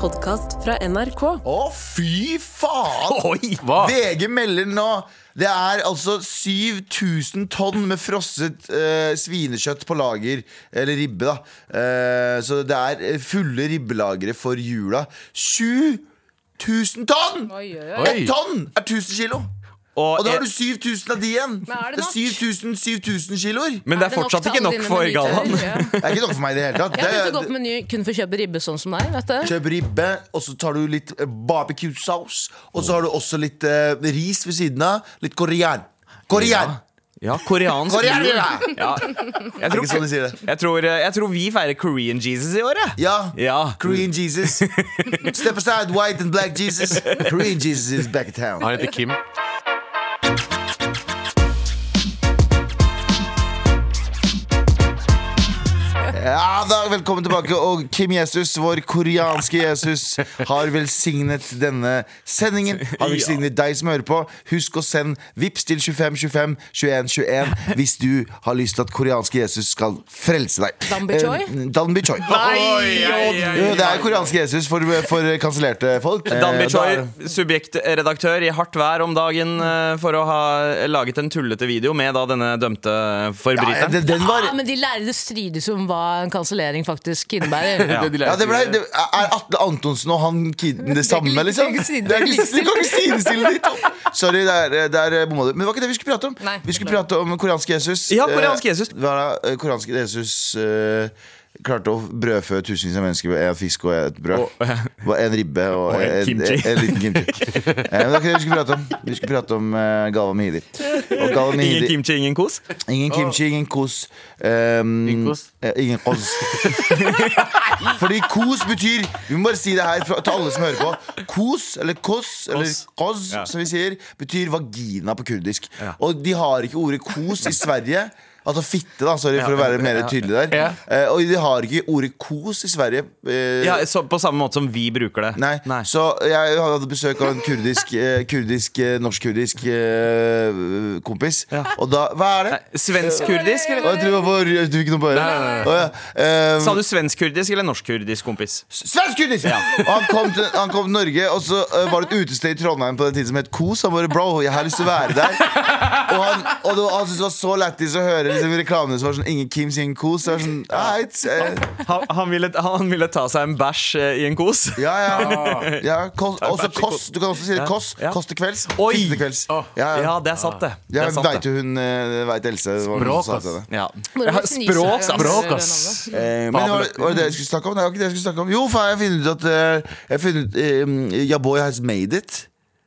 podkast fra NRK. Å, fy faen! Oi, hva? VG melder nå Det er altså 7000 tonn med frosset eh, svinekjøtt på lager. Eller ribbe, da. Eh, så det er fulle ribbelagre for jula. 7000 tonn! Oi, oi, oi. Et Oi. tonn er 1000 kilo! Og Og da har jeg- du sånn, 7000 av de igjen. Men er det nok? 7000 7000 kiloer. men det er nok fortsatt ikke tallene nok dine for med nytår? gallaen. Ja. Det er ikke nok for meg i det hele tatt. Jeg har begynt å Det- gå på meny kun for å kjøpe ribbe sånn som deg. vet du Kjøp ribbe, og så tar du litt eh, barbecue-saus. Og så har du også litt eh, ris ved siden av. Litt korean. Korean! Ja, koreansk Korean, jul. ja. Ja. Jeg, Er tror, ikke sånn de sier det. jeg, tror, eh, jeg tror vi feirer Korean Jesus i år, jeg. Ja. Ja. Korean Jesus. Step aside, white and black Jesus. Korean Jesus is back in town. Han heter Kim. Eh, Ja da, Velkommen tilbake. Og Kim Jesus, vår koreanske Jesus, har velsignet denne sendingen. Har velsignet deg som hører på. Husk å sende VIPS til 25 25 21 21 hvis du har lyst til at koreanske Jesus skal frelse deg. Danby Choi? Eh, Danby Choi. Oi, oi, oi, Jo, oi. det er koreansk Jesus for, for kansellerte folk. Eh, Dan Bichoy, da er- subjektredaktør i hardt vær om dagen eh, for å ha laget en tullete video med da denne dømte Ja, forbryteren. den, den var Ja, men de lærde strides om hva en kansellering faktisk innebærer. Ja. ja, det ble, det, Er Atle Antonsen og han kiden det samme, ikke- det liksom? er ikke siden- Det er ikke det kan ikke sidestille de to! Sorry, der, der bomma du. Men det var ikke det vi skulle prate om. Nei, vi skulle prate om koreansk Jesus. Ja, koreansk Jesus. Eh, hva da? Eh, koreansk Jesus eh, klarte å brødfø tusenvis av mennesker med en fisk og et brød. Og en ribbe og, en kimchi. En, en liten kimchi. Eh, Men det var ikke det vi skulle prate om. Vi skulle prate om eh, Galvan Mihidi. Og Galvan Ingen Mihidi- kimchi, ingen kos. Ingen kimchi, ingen kos. Ehm, Ingen kos? eh, ingen kos. Fordi kos betyr Vi må bare si det her for, til alle som hører på. Kos, eller kos, eller Kos. kos, Ja. som vi sier, betyr vagina på kurdisk. Ja. Og de har ikke ordet kos i Sverige. Altså fitte, da. Sorry for å være mer tydelig der. Ja. Eh, og de har ikke ordet kos i Sverige. eh, Ja, så, på samme måte som vi bruker det. Nei. Så jeg hadde besøk av en kurdisk, eh, kurdisk eh, norsk-kurdisk eh, kompis. Ja. Og da Hva er det? Svensk-kurdisk, eller? Å, jeg tror det var jeg tror ikke noe på øret. Nei, nei, nei. Å, ja. Ehm, Sa du svensk-kurdisk eller norsk-kurdisk, kompis? Svensk kurdis! Og han kom, til, han kom til Norge, og så eh, var det et utested i Trondheim på den tiden som het Kos. Han bare bro, jeg har lyst til å være der. Og han, og det var, han syntes det var så lættis å høre liksom, reklamene som var sånn Ingen Kims, ingen Kos. Det var sånn, right, eh, Han, han, ville, han ville ta seg en bæsj eh, i en kos. ja, ja. ja kos, også Bæsj i Kos. Du kan også si det. Ja, Kos. ja. Kos til kvelds. Oi! Fitte til kvelds. Å, Ja, ja. Ja, det er sant, det. det, Jeg er sant, veit jo hun eh, Vet Else. det var hun Bråk, som sa ass. til det. Ja. Hvor Ja, man sniser Språk, hverandre. språk, ass. Eh, Men var, var det det jeg skulle snakke om? Nei, det var ikke det jeg skulle snakke om Jo, faen, jeg har funnet ut at eh, Jeg har funnet ut eh, Ja, boy has made it.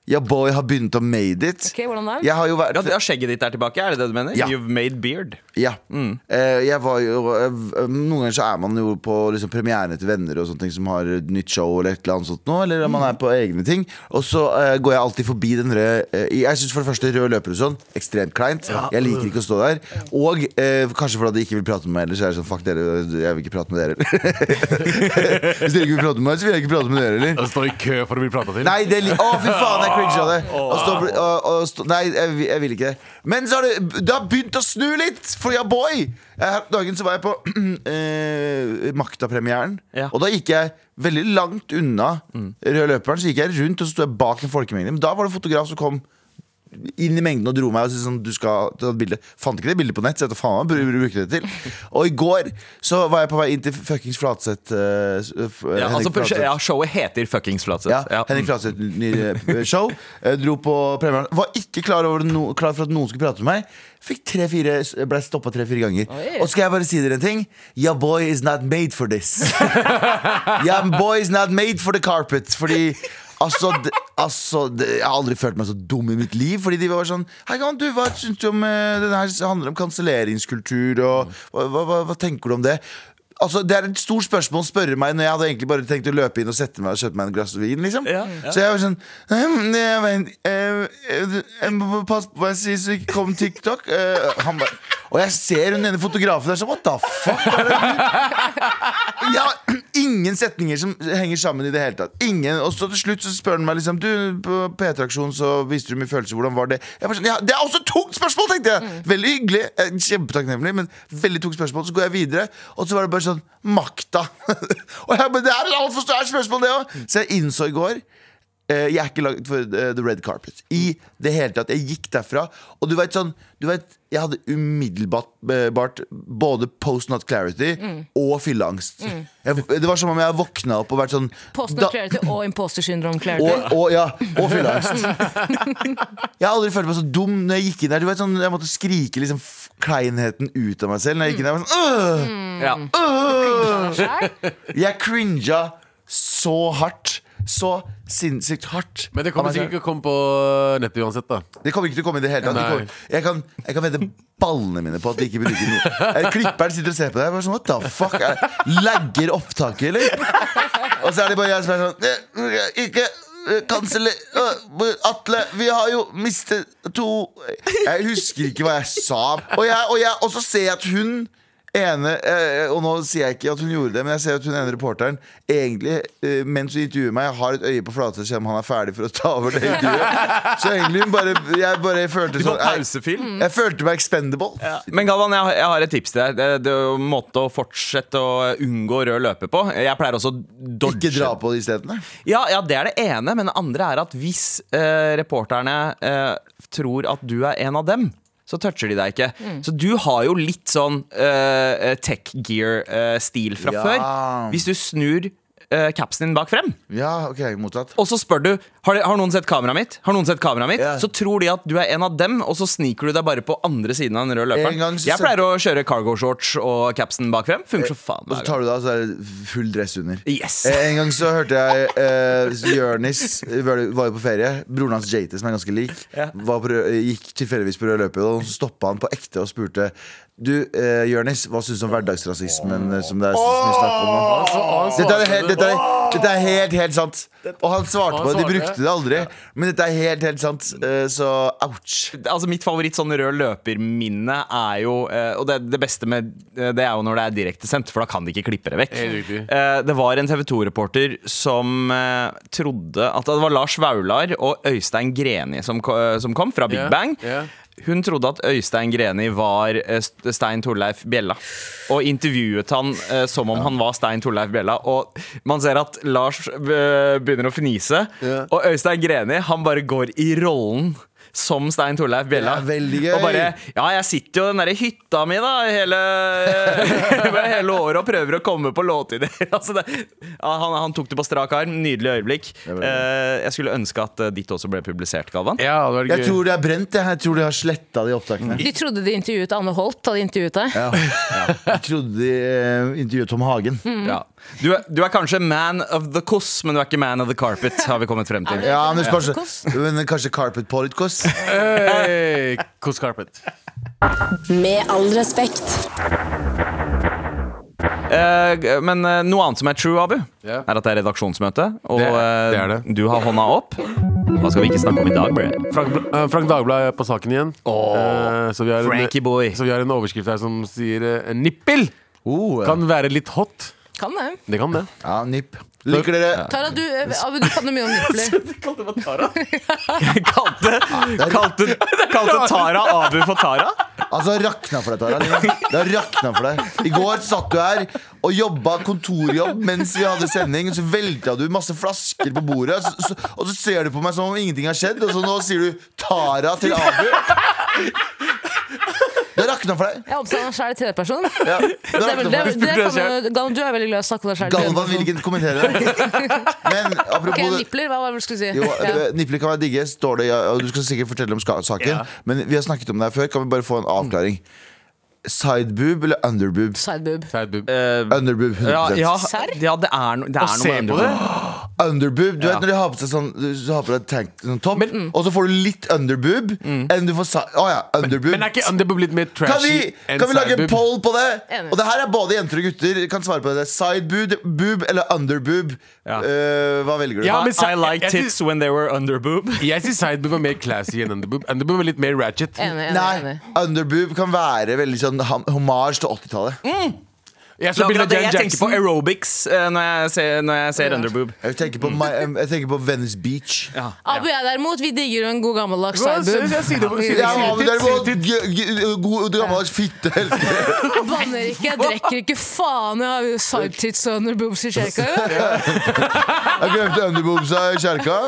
Ja, boy har begynt å made it. Ok, hvordan da? Jeg har jo vært Ja, det- ja, skjegget ditt er tilbake, er det det du mener? Ja. You've made beard. Ja. Eh, jeg var jo, eh, noen ganger så er man jo på liksom, premierene til venner og sånne ting som har et nytt show eller et eller annet sånt nå, eller man er på egne ting. Og så eh, går jeg alltid forbi den røde eh, Jeg syns for det første rød løper og sånn ekstremt kleint. Jeg liker ikke å stå der. Og eh, kanskje fordi de ikke vil prate med meg ellers, så er det sånn fuck dere, jeg vil ikke prate med dere heller. Hvis dere ikke vil prate med meg, så vil jeg ikke prate med dere heller. Han står i kø for å bli prata til. Nei, det li- Å, fy faen, jeg cringe av det. Å stå, å- å stå, nei, jeg, vil- jeg vil ikke det. Men så har det, det har begynt å snu litt, for ja, boy! Jeg- Her om dagen så var jeg på eh, Makta-premieren, Ja. Mm. og da gikk jeg veldig langt unna rød løperen. Så gikk jeg rundt, og så sto jeg bak en folkemengde. Men da var det en fotograf som kom inn i mengden og dro meg og sa sånn, du skal ta et bilde. Fant ikke det bildet på nett, så jeg vet da faen hva jeg bru- brukte det til. Og i går så var jeg på vei inn til fuckings Flatseth. eh, s- f- Ja, Henrik altså, Flatseth. ja, showet heter Fuckings Flatseth. Ja, Ja. Henrik Flatseth nye eh, show. eh, Dro på premieren. Var ikke klar, over no, klar for at noen skulle prate med meg. Fikk tre-fire Ble stoppa tre-fire ganger. Oi. Og skal jeg bare si dere en ting? Your boy is not made for this. Your boy is not made for the carpet. Fordi Altså, d- altså d- Jeg har aldri følt meg så dum i mitt liv. Fordi de var sånn Hei, Gavan, du, hva syns du om eh, Den her handler om kanselleringskultur, og hva, hva, hva, hva tenker du om det? Altså, Det er et stort spørsmål å spørre meg når jeg hadde egentlig bare tenkt å løpe inn og sette meg og kjøpe meg en glass vin. liksom Ja, ja. Så jeg var sånn «Ehm, jeg, vet, eh, eh, jeg må passe på hva jeg sier, så ikke kom TikTok. Eh, han bare- og jeg ser hun ene fotografen der sånn What the fuck? er det du?» ja, ingen setninger som henger sammen i det hele tatt. Ingen, Og så til slutt så spør han meg liksom Du, på P3-aksjonen så viste du mye følelser, hvordan var det? Jeg var sånn, ja, Det er også et tungt spørsmål, tenkte jeg! Veldig hyggelig, eh, kjempetakknemlig, men veldig tungt spørsmål. Så går jeg videre, og så var det bare sånn Makta! og jeg bare, Det er et altfor stort spørsmål, det òg! Så jeg innså i går Eh, Jeg er ikke laget for eh, the red carpet. I det hele tatt. Jeg gikk derfra. Og du veit sånn du vet, Jeg hadde umiddelbart eh, bart både post not clarity og fylleangst. Jeg, det var som om jeg våkna opp og vært sånn Post da- not clarity og imposter syndrome clarity. og, og, ja, og fylleangst. Jeg har aldri følt meg så dum når jeg gikk inn der. Du vet, sånn, jeg måtte skrike liksom f- kleinheten ut av meg selv. Når jeg gikk inn der jeg var sånn, «Åh!» Ja. Jeg cringa så hardt. Så sinnssykt hardt. Men det av meg kommer selv. sikkert ikke å komme på nettet uansett, da. Det kommer ikke til å komme i det hele tatt. De Nei. kommer- Jeg kan, jeg kan vente ballene mine på at de ikke bruker noe. Eh, Klipperen sitter og ser på deg. Jeg bare sånn, What the fuck? Er- Lagger opptaket, eller? Og så er det bare jeg som er sånn eh, Ikke eh, Kanselle eh, Atle, vi har jo mistet to Jeg husker ikke hva jeg sa. Og, jeg, og, jeg, og så ser jeg at hun ene eh, Og nå sier jeg ikke at hun gjorde det, men jeg ser at hun ene reporteren egentlig, eh, mens hun intervjuer meg, har et øye på Flatseth, selv om han er ferdig for å ta over det intervjuet. Så egentlig hun bare Jeg bare følte Du må sånn jeg, pausefilm. jeg følte meg expendable. Men Galvan, jeg, har- jeg har et tips til deg. Det, det er en måte å fortsette å unngå rød løper på. Jeg pleier også å dodge Ikke dra på de stedene. Ja, ja, det er det ene, men det andre er at hvis eh, reporterne eh, tror at du er en av dem, så toucher de deg ikke. Så du har jo litt sånn eh, tech gear-stil fra Ja. før. Hvis du snur eh, capsen din bak frem, Ja, ok, mottatt. og så spør du har, de, har noen sett kameraet mitt, Har noen sett kameraet mitt? Ja. så tror de at du er en av dem, og så sniker du deg bare på andre siden av den En røde løperen. gang så Jeg sendte- pleier å kjøre cargo shorts og capsen bak frem. Funker så faen. Og så hver gang. tar du det av, så er det full dress under. Yes. Eh, En gang så hørte jeg eh, Jørnis var var jo på ferie. Broren hans JT, som er ganske lik, var på, rød- gikk tilfeldigvis på rød løper. Og så stoppa han på ekte og spurte Du, eh, Jørnis, hva syns du om hverdagsrasismen eh, som det er så mye snakk om? nå?» Dette er, helt, dette, er, dette er helt, helt sant. Og han svarte Han på det. De svarte. brukte det aldri. Men dette er helt, helt sant. Eh, Så ouch. Altså Mitt favoritt sånn rød løper-minne er jo eh, Og det, det beste med eh, det er jo når det er direktesendt, for da kan de ikke klippe det vekk. Helt riktig. Eh, Det var en TV 2-reporter som eh, trodde at Det var Lars Vaular og Øystein Greni som, ko- eh, som kom, fra Big Ja, Bang. ja. Hun trodde at Øystein Greni var eh, St- Stein Torleif Bjella, og intervjuet han eh, som om han var Stein Torleif Bjella. Og man ser at Lars eh, begynner å fnise, Ja. og Øystein Greni han bare går i rollen. Som Stein Torleif Bjella. Det er veldig gøy. Og bare Ja, jeg sitter jo i den derre hytta mi, da, hele, hele året og prøver å komme på låtideer. Altså det- ja, han, han tok det på strak arm. Nydelig øyeblikk. er veldig gøy. Eh, jeg skulle ønske at eh, ditt også ble publisert, Galvan. Ja, det var Jeg gøy. tror det er brent. jeg. Jeg tror de har sletta de opptakene. De trodde de intervjuet Anne Holt. Hadde intervjuet deg. Jeg trodde de eh, intervjuet Tom Hagen. Mm. Ja. Du, er, du er kanskje man of the kos, men du er ikke man of the carpet, har vi kommet frem til. Ja, men, det spørs- Politikos? men kanskje Carpet Politicos? Hey, Kos Carpet. Med all respekt. Eh, g- men eh, noe annet som er true, Abu, Ja. er at det er redaksjonsmøte, og Det- det eh, er det. du har hånda opp. Hva skal vi ikke snakke om i dag, bre? Frank, eh, Frank Dagblad er på saken igjen. Eh, så, vi har Frankie en, boy. så vi har en overskrift her som sier eh, 'nippel Oh, kan være litt hot'. Kan det. Det kan det. Ja, nipp. Liker dere Tara, du, Abu, du kan jo mye om nipler. Jeg kalte, kalte, kalte Tara Abu for Tara? Altså, rakna for deg, Tara. Det har rakna for deg. I går satt du her og jobba kontorjobb mens vi hadde sending. Så velta du masse flasker på bordet, og så, så, og så ser du på meg som om ingenting har skjedd. Og så nå sier du Tara til Abu. Det har rakna for deg. Jeg omtaler meg sjæl i tredjeperson. Det, Ja, det er har vel- rakna det, for deg. det kan jo- Galvan, du er veldig glad i å snakke om deg sjæl. Galvan vil ikke kommentere det. Men apropos Ok, det- nipler, hva var det du skulle si? Jo, Ja. eh, Nipler kan være digge, står det. ja, Og du skal sikkert fortelle om ska- saken. Men vi har snakket om det her før. Kan vi bare få en avklaring? Sideboob eller underboob? Sideboob. Side boob. Eh, Underboob. 100%. Ja, ja, Serr? ja det er, no, det er Og noe se med på det! underboob. Underboob. Du Ja. vet når de har på seg sånn Du har på deg tank, sånn topp, og så får du litt underboob enn du får si- Å ja, underboob. Mm. Men er ikke underboob litt mer kan trashy vi, kan vi lage en sideboob? poll på det? Enig. Og det her er både jenter og gutter. Kan svare på det Sideboob boob eller underboob. Ja. Eh, hva velger du? Ja, men se- I like jeg- jeg- tits when they were underboob. Jeg syns sideboob er mer classy enn underboob. Underboob er litt mer ratchet. Enig, enig, Nei, enig. underboob kan være veldig sånn ham- hommage til 80-tallet. Jeg så Det bilde er av det Jan jeg tenker sånn- på Jackson. aerobics eh, når jeg ser, når jeg ser underboob. Jeg tenker på, my, jeg tenker på Venice Beach. Mm. Ja. Abu og jeg derimot, vi digger jo en god gammeldags Hva? Se, sideboob. jeg sier det på- sier det- Ja, men sier det- dere må sier det- g- g- God gammeldags fitte. Banner ikke, jeg drikker ikke, faen. Jeg har jo sidetits og underboobs i kjerka. jo. Jeg glemte underboobsa i kjerka.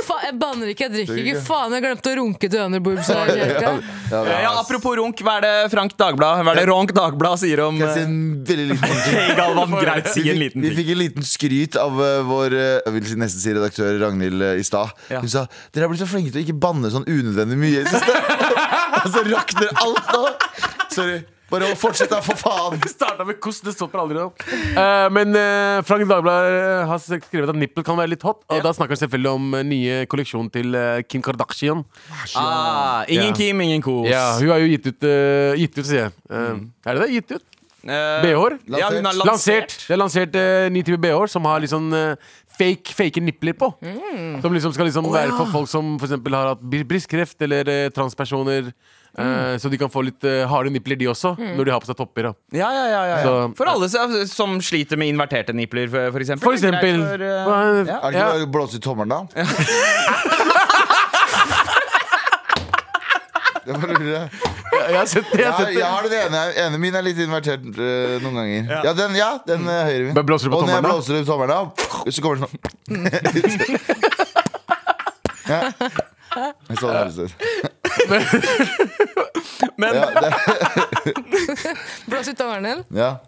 Fa- Jeg banner ikke, jeg drikker ikke, faen. Jeg glemte å runke til underboobsa i kjerka. Eh, Ja, apropos runk, hva er det Frank Dagblad Hva er det Ronk Dagblad sier om Jeg sier eh, en veldig liten ting. Hey, Galvan, greit, si en Vi fikk- liten Vi ting. fikk en liten skryt av eh, vår eh, jeg vil si- nesten si redaktør Ragnhild eh, i stad. Ja. Hun sa dere har blitt så flinke til å ikke banne sånn unødvendig mye. i det siste." Og så rakner alt nå. Sorry. Bare fortsett, da, for faen. Starta med kost, det stopper aldri opp. Eh, men eh, Frank Dagblad eh, har skrevet at nippel kan være litt hot. Og da snakker han selvfølgelig om eh, nye kolleksjon til eh, Kim Kardashian. ah, Ingen Ja. Kim, ingen kos. Ja, hun har jo gitt ut, eh, gitt ut sier jeg. Eh, Er det det? Gitt ut? Eh, BH-er? Ja, hun har Lansert. lansert. Det er lansert eh, ny type BH-er som har liksom eh, fake, fake nipler på. Som liksom skal liksom være for folk som for eksempel har hatt br- brystkreft eller eh, transpersoner. eh, så de kan få litt eh, harde nipler, de også, når de har på seg topper. Da. Ja, ja, ja, ja, ja. Så- For alle som- som sliter med inverterte nipler, for, for eksempel. For eksempel. Greit Hva For, er- eh, ja. Er det ikke bare å blåse ut tommelen, da? Det var lurere. Jeg har sett det. Jeg Jeg, har sett det. jeg har den ene. ene min er litt invertert øh, noen ganger. Ja, den, ja, den øh, høyre min. Bare blåser du på Og når jeg tommelen, da? blåser ut tommelen, da, så kommer den sånn. ja. Sånn høres det ut. Men Ja, det- Blås ut av vernen. ja.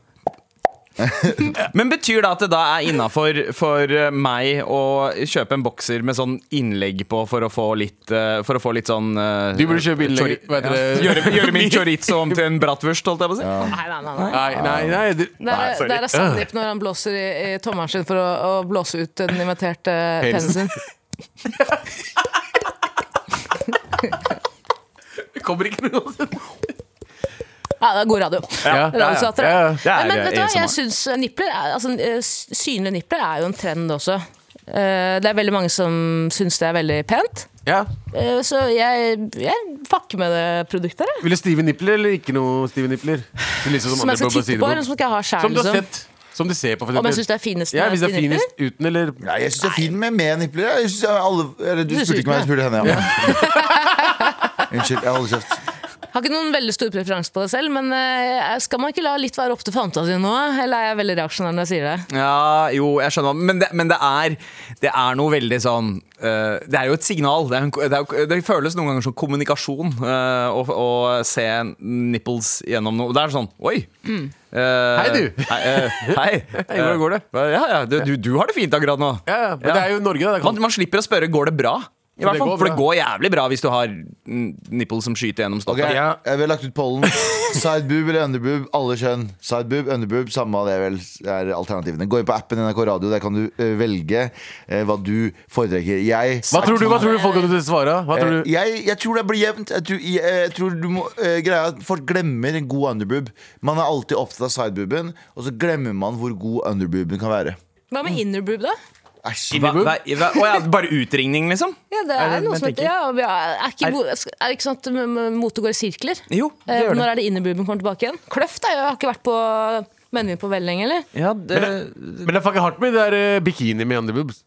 Men betyr det at det da er innafor for eh, meg å kjøpe en bokser med sånn innlegg på for å få litt, eh, for å få litt sånn eh, Du burde kjøpe innlegg, chori- hva heter det? Ja. Gjøre, gjøre min chorizo om til en bratwurst, holdt jeg på å si. Nei, nei, nei. nei. Nei, nei, nei. Det, Der, nei, er- sorry. der er Sandeep når han blåser i, i tommelen sin for å, å blåse ut den inviterte penisen. Det kommer ikke noe uansett. Ja, det er god radio. Ja, Radioteater. ja, ja. Det er men, men vet du hva, ASMR. jeg synes nipler er, altså, eh, s- Synlige nipler er jo en trend også. Eh, Det er veldig mange som syns det er veldig pent. Ja. Eh, Så jeg, jeg fucker med det produktet. jeg. Vil du stive nipler eller ikke noe stive nipler? Det er liksom Som jeg skal andre titte på, sidebord. eller som ikke jeg har selv, Som du har liksom. sett. Som du ser på, for Om jeg syns det er finest Ja, med hvis det er nipler? finest uten eller Nei, jeg syns det er fint med med nipler. jeg. Jeg synes alle, eller, du Du spurte synes ikke meg, jeg det. spurte henne. Ja. Unnskyld, jeg holder kjeft. Har ikke noen veldig stor preferanse på det selv, men eh, skal man ikke la litt være opp til fantasien nå? Eller er jeg veldig reaksjonær når jeg sier det? Ja, jo, jeg skjønner Men det, men det, er, det er noe veldig sånn eh, Det er jo et signal Det, er en, ko- det, er, jo- det føles noen ganger som kommunikasjon eh, å, å se nipples gjennom noe Det er sånn, oi Eh, Hei, du. Hei, eh, hei. hvordan går det? Eh, Ja, ja, du, du, du har det fint akkurat nå Ja, ja, men det er jo Norge, da. Det man, kan... man slipper å spørre, går det bra? I Det hvert fall, går for det bra. går jævlig bra Hvis du har mm, nipples som skyter gjennom Ok, stoffet Ja. jeg vil ha Eh, lagt ut pollen. Sideboob eller underboob, alle kjønn. Sideboob, underboob, samme av det vel er alternativene. Gå inn på appen NRK Radio, der kan du eh, velge eh, hva du foretrekker. Jeg Hva tror du, hva tror du folk kommer til å svare? Hva tror Eh, du? Jeg, jeg tror det blir jevnt. Jeg tror, jeg, jeg tror du må, eh, greia er at Folk glemmer en god underboob. Man er alltid opptatt av sidebooben, og så glemmer man hvor god underbooben kan være. Hva med innerboob, da? Æsj. Hva- hva- hva- å ja, Bare utringning liksom Ja, det er, det noe man som heter tenker? ja, vi er, er, ikke, Er- bo- er det ikke sånn at m- m- mote går i sirkler? Jo, det Eh, gjør det når er det innerbooben kommer tilbake igjen? Kløft er jo, jeg har ikke vært på menyen på veldig lenge, eller? ja, det, Men det fucker hardt med det er eh, bikini med underboobs.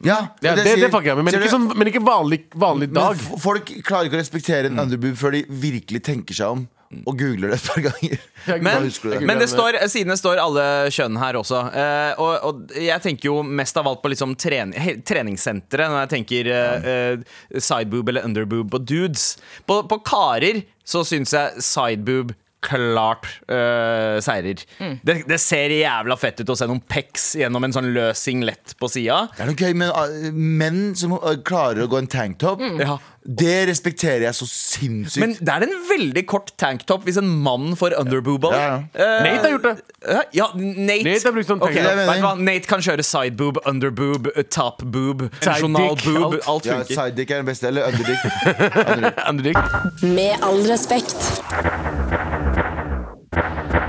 Ja, Ja, er det, jeg det sier. fucker jeg med, men Ser ikke, du- sånn, men ikke vanlig, vanlig Men dag. f- folk klarer ikke å respektere en underboob før de virkelig tenker seg om og googler det et par ganger. Da Men, husker du det. men det står, siden det står alle kjønn her også. eh, og, og jeg tenker jo mest av alt på liksom trening, he- treningssentre når jeg tenker eh, eh, sideboob eller underboob på dudes. På, på karer så syns jeg sideboob klart eh, seirer. Mm. Det, det ser jævla fett ut å se noen pecs gjennom en sånn løs singlet på sida. Det er noe gøy, men uh, menn som uh, klarer å gå en tanktop, Ja. det respekterer jeg så sinnssykt. Mm. Men det er en veldig kort tanktop hvis en mann får Eh, underboob. Ja, ja. Nate har gjort det. Hæ? Ja, Nate Nate har brukt sånn Ok, tanktop. Det er meningen. vet du hva? Nate kan kjøre sideboob, underboob, topboob, Side nasjonal dick, boob. alt. Alt ja, funker. Sidedick er den beste, eller underdick. Andre dikt. Med all respekt.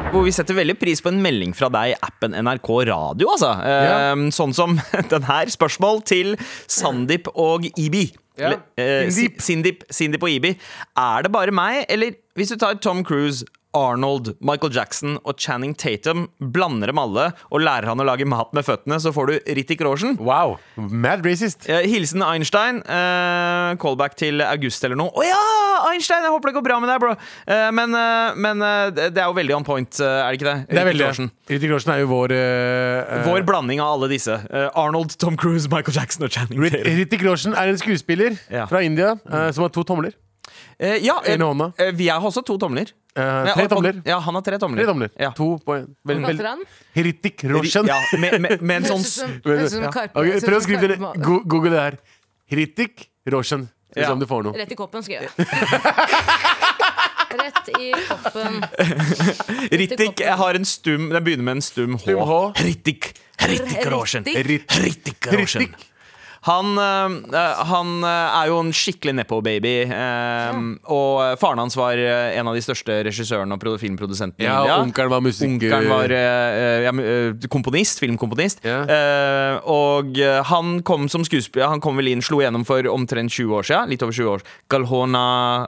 Hvor vi setter veldig pris på en melding fra deg i appen NRK Radio. Altså. Eh, Ja. Sånn som den her. Spørsmål til Sandeep og Ibi. Ja. eller, eh, Si- Sindip. Sindip, Sindip og Ibi. Er det bare meg, eller hvis du tar Tom Cruise, Arnold, Michael Jackson og Channing Tatum, blander dem alle og lærer han å lage mat med føttene, så får du Rittik Roshen? Wow. Mad racist. Eh, Hilsen Einstein. Eh, callback til august eller noe. Å ja! Einstein, jeg håper det går bra med deg, bro. Eh, men eh, men eh, det det er jo veldig on point, eh, er det ikke det? Det er Rittig veldig Roshen. Rittig Roshen er jo vår eh, eh, Vår blanding av alle disse. Eh, Arnold, Tom Cruise, Michael Jackson og Channing Rit- Tatum. Hrithik Roshen er en skuespiller Ja. fra India eh, som har to tomler. Eh, ja, eh, En i hånda. eh, vi har også to tomler. Eh, Ja, og- tre og- tomler. Ja, han har tre tomler. Tre tomler. Ja. To på en. Vel, Hva vel, kaller han? Hrithik Roshen. Ja, med, med, med en sånn Høres ut som- s- høres ut som Ja. Karpe- Ok, høres ut prøv å som skrive det. Karpe- Go- Google det her. Hrithik Roshen. Se Ja. om du får noe. Rett i koppen, skrev jeg. Rett i koppen. Rittik jeg har en stum Den begynner med en stum H. Stum H. Rittik. Rittik Roshen. Rittik. Rittik Roshen. Hrithik. Han, eh, eh, han eh, er jo en skikkelig nepo-baby. eh, Og eh, faren hans var eh, en av de største regissørene og pro- filmprodusentene Ja, i India. onkelen var musiker- Onkelen var, eh, eh, ja, mu- eh, komponist, filmkomponist. Ja. Eh, Og eh, han kom som skuespiller Han kom vel inn, slo gjennom for omtrent 20 år siden. Litt over 20 år. Galhona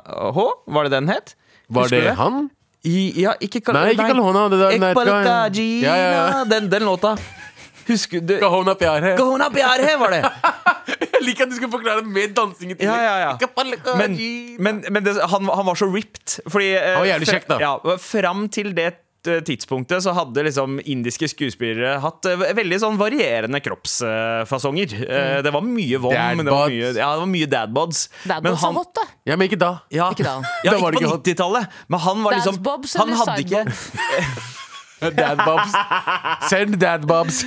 H, var det den het? Var Husker det du han? I, ja, ikke Kal Nei, ikke Kalhona, det der- nei, Ekbalta Kal- Gina, Ja, ja, ja. Den, den låta. Husker du Kahona Pyar her. Kahona Pyar Hai var det. Jeg liker at du skulle forklare det med dansing i Ja, tillegg. ja, ja. Kapalaka- Men, men, men det, han, han var så ripped. Fordi, eh, Han var jævlig kjekk, da. Ja, fram til det eh, tidspunktet så hadde liksom indiske skuespillere hatt eh, veldig sånn varierende kroppsfasonger. Eh, Det var mye vom. Dad men Det var bods. mye, ja, det var mye dadbods. Dad Men Bobs han- er hot, da. Ja, men ikke da. Ja, Ikke da. ja, Da ikke var det på ikke hot. 90-tallet. Men han var Dad liksom bobs Han eller hadde side ikke bob? Dadbobs. Send dadbobs.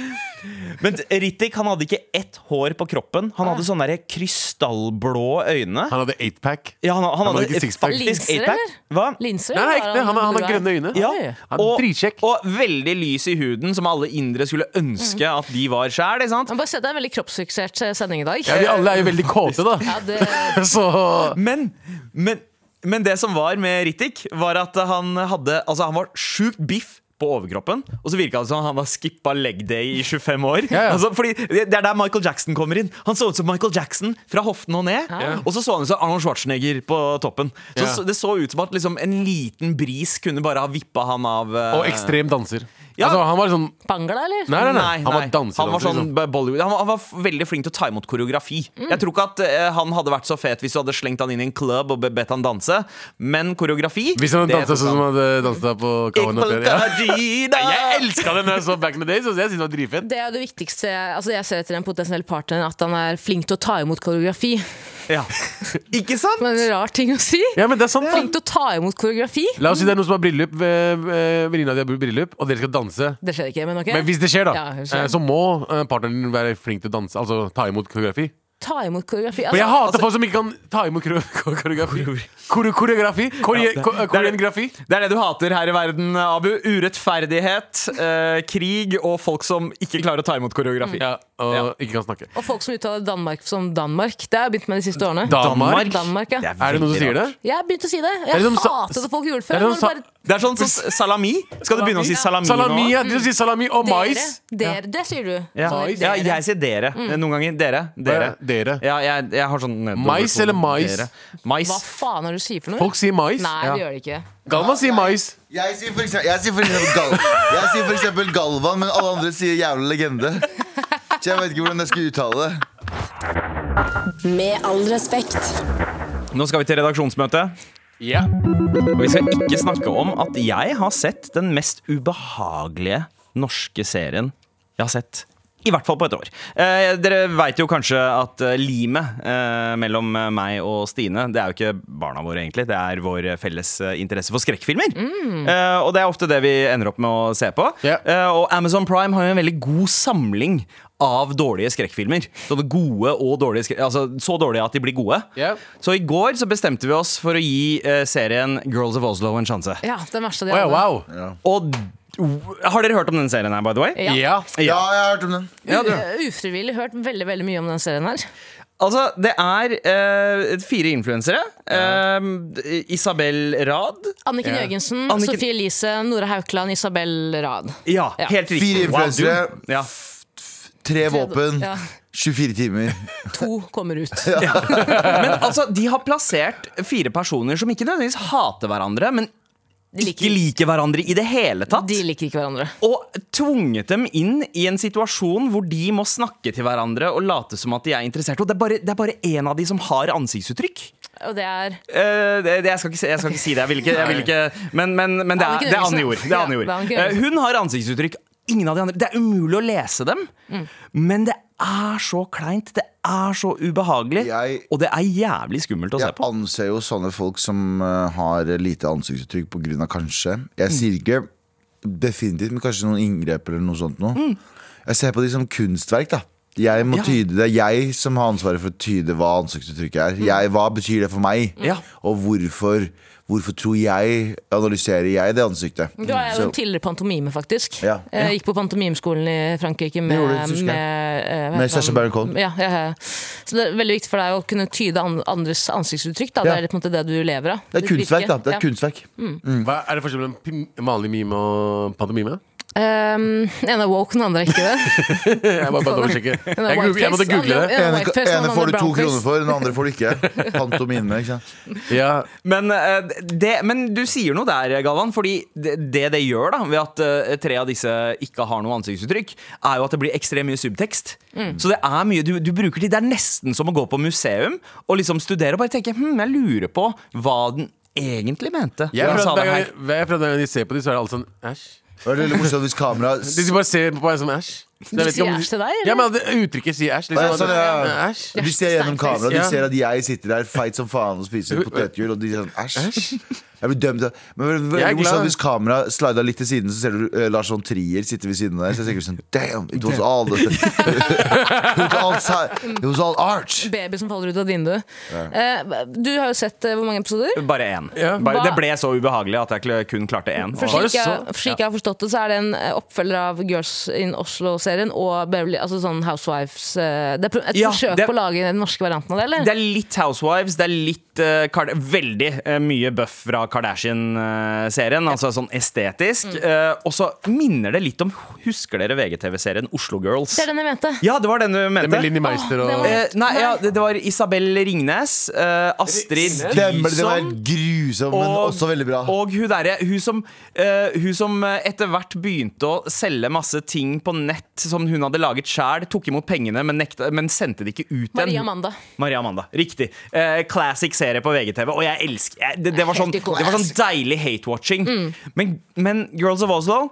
Men Rittik han hadde ikke ett hår på kroppen. Han Ah. hadde sånne der krystallblå øyne. Han hadde eightpack. Ja, han, han Han hadde hadde ikke sixpack. faktisk Linser, eight-pack. eller? Hva? Linser? Nei, nei, var ekte. Han, han har blue eye? grønne øyne. Ja. Oi. Han er Og, dritkjekk. og veldig lys i huden, som alle indere skulle ønske Mm. at de var sjæl. ikke sant? Men bare se, Det er en veldig kroppsfiksert eh, sending i dag. Ja, vi alle er jo veldig kåte, da. Ja, det, Så Men, men, men det som var med Rittik, var at han hadde Altså, han var sjukt biff. På overkroppen, Og så virka det som han har skippa leg day i 25 år. Ja, ja. Altså, fordi Det det er der Michael Jackson kommer inn. Han så ut som Michael Jackson fra hoften og ned. Ja. Og så så han ut som Arnold Schwarzenegger på toppen. Så, Ja. så Det så ut som at liksom, en liten bris kunne bare ha vippa han av. eh, Og ekstrem danser. Ja. Altså, han var sånn Bangla, eller? Nei, nei, nei. Nei, Han var nei. danser. liksom. Han var, sånn Bollywood. Han, var, han var f- veldig flink til å ta imot koreografi. Jeg tror ikke at eh, han hadde vært så fet hvis du hadde slengt han inn i en club og be- bedt han danse, men koreografi Hvis han det hadde dansa tok sånn som han. han hadde dansa på Kahuna Iqbal før. Ja. Kajida! Jeg elska det når jeg så Back in the Days. Altså, jeg synes det var dritfett. Det er jo det viktigste altså Jeg ser etter en potensiell partner at han er flink til å ta imot koreografi. Ja. Ikke sant? Men en rar ting å si. Ja, men det er sant, da. Flink til å ta imot koreografi. La oss si det er noen som har bryllup, eh, eh, venninna di har bryllup, og dere skal danse. Det skjer ikke, men ok. Men hvis det skjer, da, Ja, det skjer. eh, så må eh, partneren din være flink til å danse. Altså ta imot koreografi. Ta imot koreografi. For jeg Altså, hater folk som ikke kan ta imot kore- kore- koreografi. Kore- Koreografi? Kore- det- ko- eh, Koreografi? Det er det du hater her i verden, Abu. Urettferdighet, eh, krig og folk som ikke klarer å ta imot koreografi. Ja, og ikke kan snakke. og folk som uttaler Danmark som Danmark. Det har jeg begynt med de siste årene. Danmark? Danmark, ja. Er det noen som veldig sier det? rart. Jeg har begynt å si det. Det er Jeg liksom sa- hatet at folk gjorde det det før. er men liksom sa- bare Det er sånn som s- salami. Skal du begynne å si salami, Salami, nå? ja. De sier salami og mais. Dere, dere, det sier du. Ja. Så det er ja, dere. jeg sier dere noen ganger. Dere. dere. Eh, dere. Ja, jeg, jeg har sånn nedover- Mais eller mais? Dere. Mais. Hva faen er det du sier for noe? Folk sier mais. Nei, Ja. det gjør de ikke. Galvan sier mais. Jeg sier for eksempel, jeg sier for eksempel, Gal jeg sier for eksempel Galvan, men alle andre sier jævla legende. Så jeg vet ikke hvordan jeg skal uttale det. Med all respekt. Nå skal vi til redaksjonsmøte. Ja. Og vi skal ikke snakke om at jeg har sett den mest ubehagelige norske serien jeg har sett. I hvert fall på et år. Eh, dere veit jo kanskje at eh, limet eh, mellom eh, meg og Stine, det er jo ikke barna våre, egentlig. Det er vår eh, felles eh, interesse for skrekkfilmer. Eh, og det er ofte det vi ender opp med å se på. Mm. Ja. Eh, og Amazon Prime har jo en veldig god samling av dårlige skrekkfilmer. Sånne gode og dårlige skrek Altså så dårlige at de blir gode. Ja. Så i går så bestemte vi oss for å gi eh, serien Girls of Oslo en sjanse. Ja, den verste de Å hadde. ja, wow. Og d- har dere hørt om den serien her, by the way? Ja. Ja. Ja, jeg har hørt om den. U- Ufrivillig hørt veldig veldig mye om den serien her. Altså, det er eh, fire influensere. Eh, Isabel Rad. Anniken Jørgensen, Anniken- Sofie Elise, Nora Haukeland, Isabel Rad. Ja, Ja. helt riktig. Fire Wow, du- influensere. Ja. Tre våpen, Ja. 24 timer. To kommer ut. Men altså, de har plassert fire personer som ikke nødvendigvis hater hverandre, men De ikke liker, liker hverandre i det hele tatt. de liker ikke hverandre. Og tvunget dem inn i en situasjon hvor de må snakke til hverandre og late som at de er interessert. Og det er bare- det er bare én av de som har ansiktsuttrykk. Og det er Eh, det, det, jeg, skal ikke, si- jeg skal ikke si det. Jeg vil ikke, jeg vil ikke Men, men, men det, Anniken er, det er Jørgensen. Anne Jord. Det er Anne Ja, Jord. det er Anniken Eh, Jørgensen. hun har ansiktsuttrykk. Ingen av de andre. Det er umulig å lese dem. Men det er så kleint. Det er så ubehagelig. Jeg- Og det er jævlig skummelt å se Jeg på. anser jo sånne folk som eh, har lite ansiktsuttrykk på grunn av kanskje Mm. Jeg sier ikke definitivt, men kanskje noen inngrep eller noe sånt noe. Jeg ser på de som kunstverk, da. Jeg må Mm. Ja. tyde Det er jeg som har ansvaret for å tyde hva ansiktsuttrykket er. Jeg, hva betyr det for meg? Mm. Ja. Og hvorfor, hvorfor tror jeg Analyserer jeg det ansiktet? Du er jo Så- en tidligere pantomime, faktisk. Ja. Jeg gikk på pantomimeskolen i Frankrike med gjorde du, husker jeg. eh, hva Med heter han? Sacha Baron Cohen. Ja, ja, ja. Så det er veldig viktig for deg å kunne tyde an- andres ansiktsuttrykk. Da. Ja. Det er på en måte det du lever av. det er Ditt kunstverk, virke. da. Det er Ja. kunstverk. Hva er det forskjell mellom pim- vanlig mime og pantomime? Ehm, den ene er woke, den andre er ikke det. Jeg bare, bare dobbeltsjekker. Jeg, Den er googler- jeg måtte whiteface, google den andre- det. den er Ene, whiteface, den ene andre får du er to brownface. kroner for, den andre får du ikke. Pantomime. ikke sant? Ja, Men, eh, det, men du sier noe der, Galvan. Fordi det det, det gjør, da ved at eh, tre av disse ikke har noe ansiktsuttrykk, er jo at det blir ekstremt mye subtekst. Så det er mye du, du bruker tid. Det er nesten som å gå på museum og liksom studere og bare tenke hm, jeg lurer på hva den egentlig mente. jeg når han sa prøver at hver det her». gang- hver- jeg prøver at hver gang de ser på dem, så er det alle sånn æsj. Det var veldig morsomt hvis kamera De de bare ser på meg som æsj. Så jeg vet ikke om sier æsj til deg, eller? Ja, men at Uttrykket sier æsj. Ja, Liksom, sånn, ja. at- Æsj. De ser gjennom kameraet, de Ja. ser at jeg sitter der feit som faen og spiser potetgull, og de er sånn æsj. Jeg blir dømt av Men det var Jeg er veldig morsomt glad. sånn hvis kameraet slida litt til siden, så ser du eh, Lars von Trier sitter ved siden av deg, så jeg tenker sånn damn, it was all the It was all, si- it was all art. Baby som faller ut av vinduet. Eh, du har jo sett eh, hvor mange episoder? Bare én. Ja. Bare, det Hva- ble så ubehagelig at jeg kl- kun klarte én. For Var det slik, jeg, så? for slik jeg har forstått det, så er det en eh, oppfølger av Girls in Oslo-serien og Beverly, altså sånn Housewives eh, Det er pro- et Ja, forsøk det- på å lage den norske varianten av det, eller? Det er litt Housewives, det er litt eh, Kard veldig eh, mye bøff fra Kardashian-serien. Altså sånn estetisk. Mm. eh, og så minner det litt om Husker dere VGTV-serien Oslo Girls? Det er den jeg mente. Ja, det var den du Det er mente. med Linni Meister Åh, det og var- Eh, nei, ja, det, det var Isabel Ringnes, eh, Astrid Stemmer det, det var Dyson, helt grusomt, men også veldig bra. Og hun derre hun, som, eh, hun som eh, etter hvert begynte å selge masse ting på nett som hun hadde laget sjæl, tok imot pengene, men, nekta, men sendte det ikke ut igjen. Maria Amanda. Maria Amanda, Riktig. Eh, classic serie på VGTV. Og jeg elsker jeg, det, det, var sånn, det Helt ikonisk. var sånn deilig hate-watching. Men, men Girls of Oslo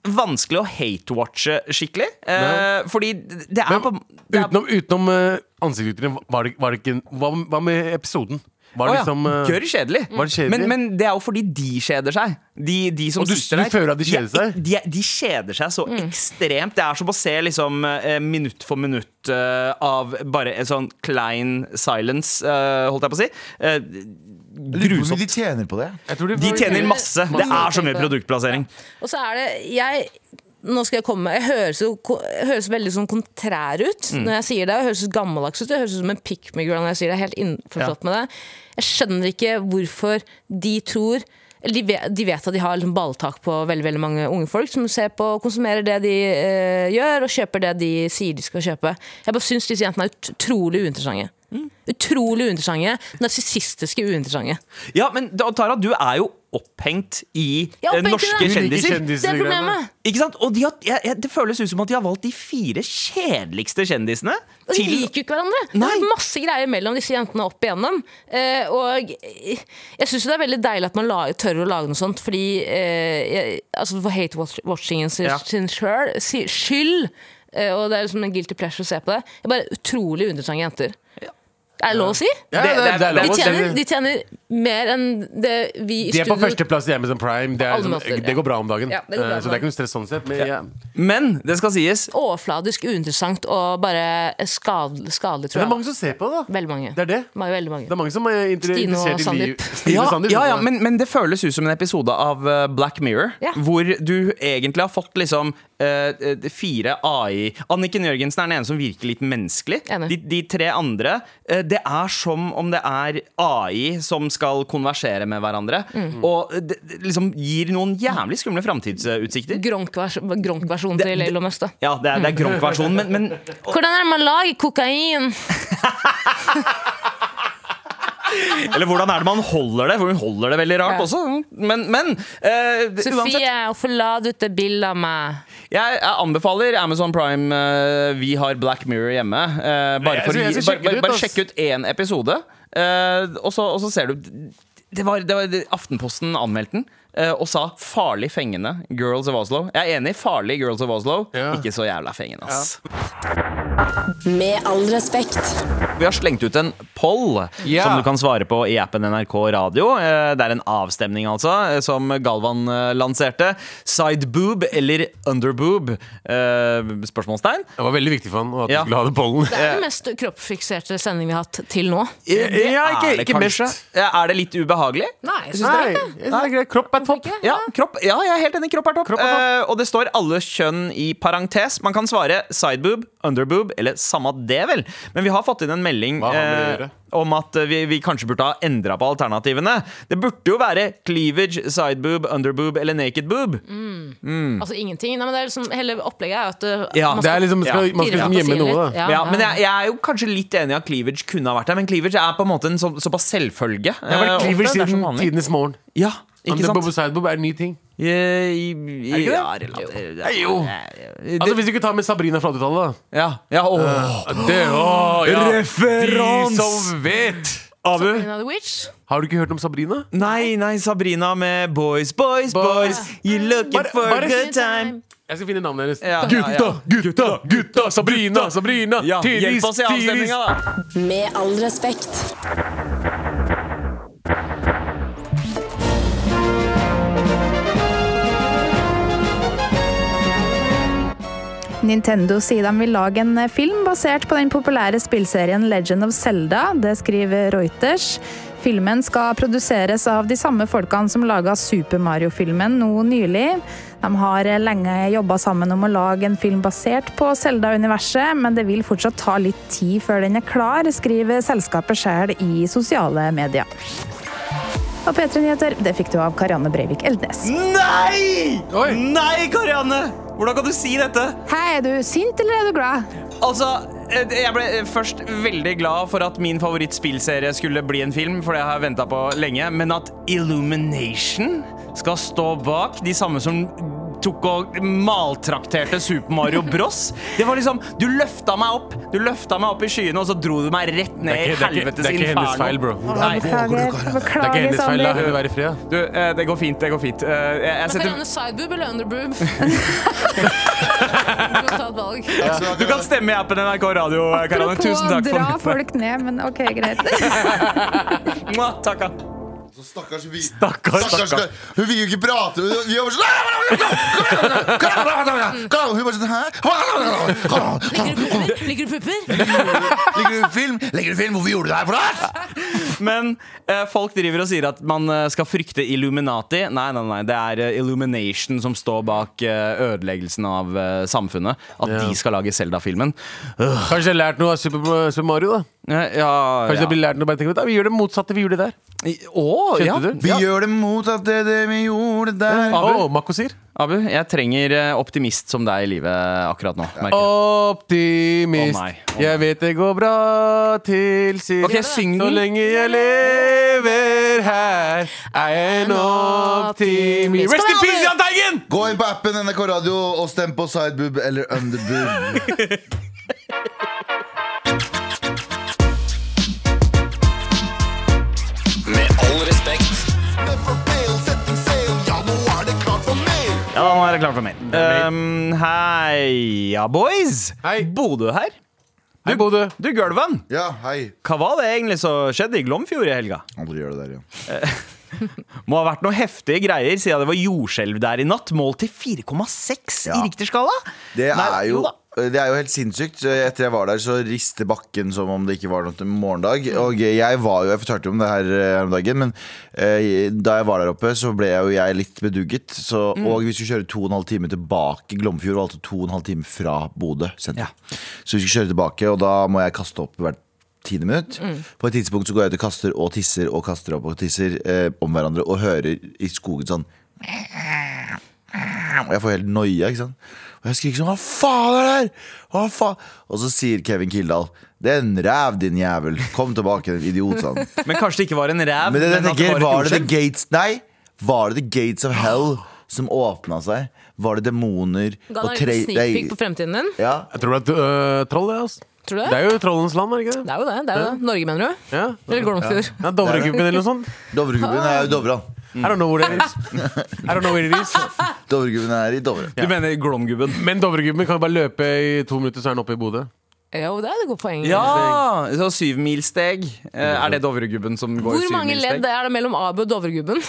Vanskelig å hate-watche skikkelig. Eh, fordi det er på Men det er, utenom, utenom eh, ansiktsuttrykket, var det, var det ikke Hva, hva med episoden? Var Å det ja, liksom eh, Gørr kjedelig. Var det kjedelig? Men, men det er jo fordi de kjeder seg. De, de som Og du- sitter du der, føler at de er- kjeder seg? De, er- de kjeder seg så ekstremt. Det er som å se liksom, eh, minutt for minutt eh, av bare en sånn klein silence, eh, holdt jeg på å si. Eh, Lurer på hvor mye grusomt. de tjener på det. jeg tror det De var- tjener masse. Det er så mye produktplassering. Og så er det jeg, Nå skal jeg komme med Jeg høres, jo, ko- jeg høres veldig sånn kontrær ut Mm. når jeg sier det. Jeg høres gammeldags ut. Jeg høres ut som en pick me girl når jeg sier det. Jeg er helt innforstått med det. Jeg skjønner ikke hvorfor de tror eller de vet, de vet at de har liksom balltak på veldig veldig mange unge folk som ser på og konsumerer det de eh, gjør, og kjøper det de sier de skal kjøpe. Jeg bare syns disse jentene er ut- utrolig uinteressante. Mm. Utrolig uinteressante. Narsissistiske uinteressante. Ja, men da, Tara, du er jo opphengt i Jeg er opphengt i eh, norske det. Du liker kjendiser. kjendiser. Det er problemet! Ikke sant? Og de har, jeg, jeg, det føles ut som at de har valgt de fire kjedeligste kjendisene. Og de Til, liker jo ikke hverandre. Nei. Det er masse greier mellom disse jentene opp igjennom. Eh, og jeg syns det er veldig deilig at man la, tør å lage noe sånt, fordi eh, jeg, altså For hate-watchingen sin, Ja. sin sjøl- si- skyld, eh, og det er liksom en guilty pleasure å se på det, det er bare utrolig uinteressante jenter. Er det lov å si? Ja, det, det, er De lov De å tjener, si. de tjener mer enn det vi i De er på studio- førsteplass i Amazon Prime. Det, På er, alle sånn- måter, det går bra om dagen. Ja, det går bra Eh, om så det er ikke noe stress sånn sett. Men, ja. men det skal sies, Overfladisk, uinteressant og bare skadelig, skadelig Det tror er jeg. mange som ser på det, da. Veldig mange. Det er det. Veldig mange. Det er mange som er inter- Stine og interessert i Sandeep. liv. Stine og ja, Sandeep, ja, ja, sånn. men, men det føles ut som en episode av eh, Black Mirror. Ja. Hvor du egentlig har fått liksom eh, eh, fire AI Anniken Jørgensen er den ene som virker litt menneskelig. Enig. De, de tre andre eh, det er som om det er AI som skal konversere med hverandre. Mm. Og det, det liksom gir noen jævlig skumle framtidsutsikter. Gronk-vers- Gronk-versjon til Elon Musk, da. Ja, det er, det er Gronk-versjonen, men, men Hvordan er det man lager kokain? Eller hvordan er det man holder det? For hun holder det veldig rart Ja. også. Men, men eh, uansett. Sofie, hvorfor la du ut det bildet av meg? Jeg, jeg anbefaler Amazon Prime. eh, vi har Black Mirror hjemme. eh, bare jeg for å skal- jeg gi- skal bare, sjekke det bare, ut, bare ass. sjekk ut én episode, eh, og, så, og så ser du det var, det var det- Aftenposten anmeldte den eh, og sa 'farlig fengende Girls of Oslo'. Jeg er enig, farlig Girls of Oslo. Ja. Ikke så jævla fengende, ass. Med all respekt. Vi har slengt ut en poll Ja. som du kan svare på i appen NRK Radio. Eh, Det er en avstemning, altså, eh, som Galvan eh, lanserte. Sideboob eller underboob? Eh, Spørsmålstegn. Det var veldig viktig for han at Ja. du skulle ha den pollen. Det er den mest kroppsfikserte sendingen vi har hatt til nå. Eh, det Ja, ikke- er det ikke kanskje. Eh, Er det litt ubehagelig? Nei, jeg synes det Nei, er jeg synes det er greit. Kropp er topp. ikke. Ja, kropp, ja, jeg er helt enig. Kropp er topp. Kropp er topp. Eh, og det står alle kjønn i parentes. Man kan svare sideboob, underboob eller samme det, vel. Men vi har fått inn en melding Hva har med det å eh, gjøre? om at eh, vi, vi kanskje burde ha endra på alternativene. Det burde jo være cleavage, sideboob, underboob eller naked boob. Mm. Altså ingenting. Nei, men det er liksom, hele opplegget er jo at uh, Ja, man Det er liksom, skal, Ja. Man skal liksom pirre på gjemme siden noe, litt. da. Ja, Ja, ja. men jeg, jeg er jo kanskje litt enig i at cleavage kunne ha vært der, men cleavage er på en måte en så, såpass selvfølge. Det har vært eh, kliver ofte. Det er som siden vanlig. tidenes morgen. Ja, ikke Underboob sant? og sideboob er en ny ting. I, Eh, i, i, ja, relativt- Jo. Altså Hvis Altså- du ikke tar med Sabrina fra 80-tallet, da. Ja, Eh, ja, åh. Det, å, ja. Referans! De som vet! Abu? Sabrina the Witch. Har du ikke hørt om Sabrina? Nei, nei, Sabrina med Boys, boys, boys. You looking Bare- for bare- a good time. Jeg skal finne navnet hennes. Ja, gutta, ja, ja. gutta, gutta! Sabrina, Sabrina! Ja, tidvis, hjelp oss i tidvis. avstemninga, da. Med all respekt. Nintendo sier de vil lage en eh, film basert på den populære spillserien Legend of Zelda. Det skriver Reuters. Filmen skal produseres av de samme folkene som laga Super Mario-filmen nå nylig. De har eh, lenge jobba sammen om å lage en film basert på Zelda-universet, men det vil fortsatt ta litt tid før den er klar, skriver selskapet sjøl i sosiale medier. Og P3 Nyheter, det fikk du av Karianne Breivik Eldnes. Nei! Oi. Nei, Karianne! Hvordan kan du si dette? Hei, er du sint eller er du glad? Altså, eh, jeg ble først veldig glad for at min favorittspillserie skulle bli en film, for det har jeg venta på lenge, men at Illumination skal stå bak de samme som tok og maltrakterte Super Mario Bros. Det var liksom Du løfta meg opp Du løfta meg opp i skyene, og så dro du meg rett ned i Det er ikke- det er ikke- helvetes det er ikke hennes inferno. feil, bro. Nei, Det Beklager, er ikke beklager hennes feil. La Sander. henne være i fred. du, eh, det går fint. Det går fint. Eh, Jeg, jeg Kan jeg setter nevne sideboob eller underboob? du kan ta et valg. Du kan stemme i appen NRK Radio, eh, Karianne. Tusen takk Apropos dra for folk ned, men ok, greit. Mwah, takk, ja. Så stakkars vi Stakkars, stakkars. stakkars. Hun vil jo ikke prate. Hun vi var bare sånn Hun bare sånn Hæ? Ligger du pupper? Ligger du pupper? Legger du ut film? Legger du ut film? Hvorfor gjorde du det her for deg? Men eh, folk driver og sier at man eh, skal frykte Illuminati. Nei, nei, nei, det er eh, Illumination som står bak eh, ødeleggelsen av eh, samfunnet. At de skal lage Selda-filmen. Kanskje jeg har lært noe av Super, Super Mario? Ja, da ja, Kanskje Eh, ja. jeg blir lært noe bare tenker, «Vet du, Vi gjør det motsatte. Vi gjør det der. I- Å, Kjente ja. du? Vi gjør det mot at det, det vi gjorde der. Å, Abu? Makosir. Abu, jeg trenger eh, optimist som deg i livet akkurat nå. merker jeg. Optimist. Å nei, å nei. Jeg vet det går bra til sist. Ok, syng Så den. lenge jeg lever her, er jeg en optimist. Rest in peace, Jahn Teigen! Gå inn på appen NRK Radio og stem på sideboob eller underboob. Ja, nå er det klart for mer. Um, heia, boys! Hei. Bodø her. Hei, Bodø. Du, Gølvan, Ja, hei. hva var det egentlig som skjedde i Glomfjord i helga? Aldri gjør det der igjen. Må ha vært noe heftige greier siden det var jordskjelv der i natt. Målt til 4,6 i Ja. Richterskala. Det er Nei, jo da. det er jo helt sinnssykt. Etter jeg var der, så rister bakken som om det ikke var noe til morgendag. Mm. Og jeg var jo, jeg fortalte jo om det her eh, her om dagen, men eh, da jeg var der oppe, så ble jeg jo jeg litt bedugget. Så, Mm. Og vi skulle kjøre to og en halv time tilbake. Glomfjord var altså to og en halv time fra Bodø senter. Ja. Så vi skulle kjøre tilbake, og da må jeg kaste opp hvert tiende minutt. Mm. På et tidspunkt så går jeg ut og kaster og tisser og kaster opp og tisser eh, om hverandre og hører i skogen sånn Og jeg får helt noia, ikke sant. Og jeg skriker sånn Hva faen er det her?! Hva faen? Og så sier Kevin Kildahl Det er en ræv, din jævel. Kom tilbake, din idiot, sa han. Men kanskje det ikke var en ræv. Men det, jeg at det tenker, var et var det The jordskjelv? Gates Nei, var det The Gates of Hell som åpna seg? Var det demoner Ga og deg en tre... liten sneak peek på fremtiden din. ja. Jeg tror det er øh, troll, det. ass Tror du det? Det er jo trollens land, er det ikke det? Det er jo det. det, er jo det. Norge, mener du? Ja. Eller Glomfjord? Ja, Dovregubben eller noe sånt. Dovregubben er jo i Dovre. han. I don't know where it is. I don't know where it is. Dovregubben er i Dovre. Du mener Glomgubben? Men Dovregubben kan jo bare løpe i to minutter, så er han oppe i Bodø. Jo, det er et godt poeng. Ja! Så syvmilssteg. Eh, Er det Dovregubben som går Hvor mange ledd er det mellom Abu og Dovregubben?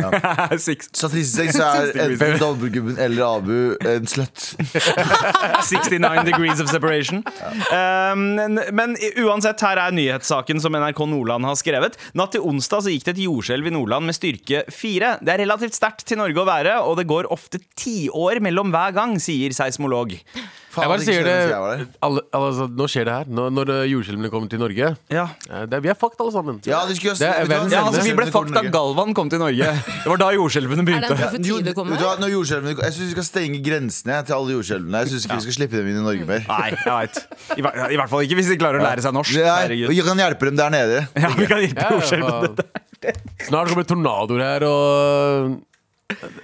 er Six, Statistisk sett så er enten Dovregubben eller Abu en slutt. 69 degrees of separation. Um, men, men uansett, her er nyhetssaken som NRK Nordland har skrevet. Natt til onsdag så gikk det et jordskjelv i Nordland med styrke 4. Det er relativt sterkt til Norge å være, og det går ofte tiår mellom hver gang, sier seismolog. Faen, Jeg bare ikke sier skjønner det hvis jeg var der. alle, alle, altså, Nå skjer det her. Når, når øh, jordskjelvene kommer til Norge Ja. eh, det, er- Vi er fucked, alle sammen. Ja, de skulle Det er vet du hva? verdens Ja, altså, vi ble Jordskjelvene kommer fucked til da Norge. Galvan kom til Norge. Det var da Er det jordskjelvene en begynte. Jo, profeti vet det du kommer hva, når jordskjelvene Jeg syns vi skal stenge grensene til alle jordskjelvene. Jeg syns ikke vi skal slippe dem inn i Norge mer. Nei, jeg veit. I, hver- I hvert fall ikke hvis de klarer å lære seg norsk. Nei, Herregud. og jeg kan hjelpe dem der nede. Ja, vi kan hjelpe Ja, ja, jordskjelvene. faen. Snart kommer det tornadoer her, og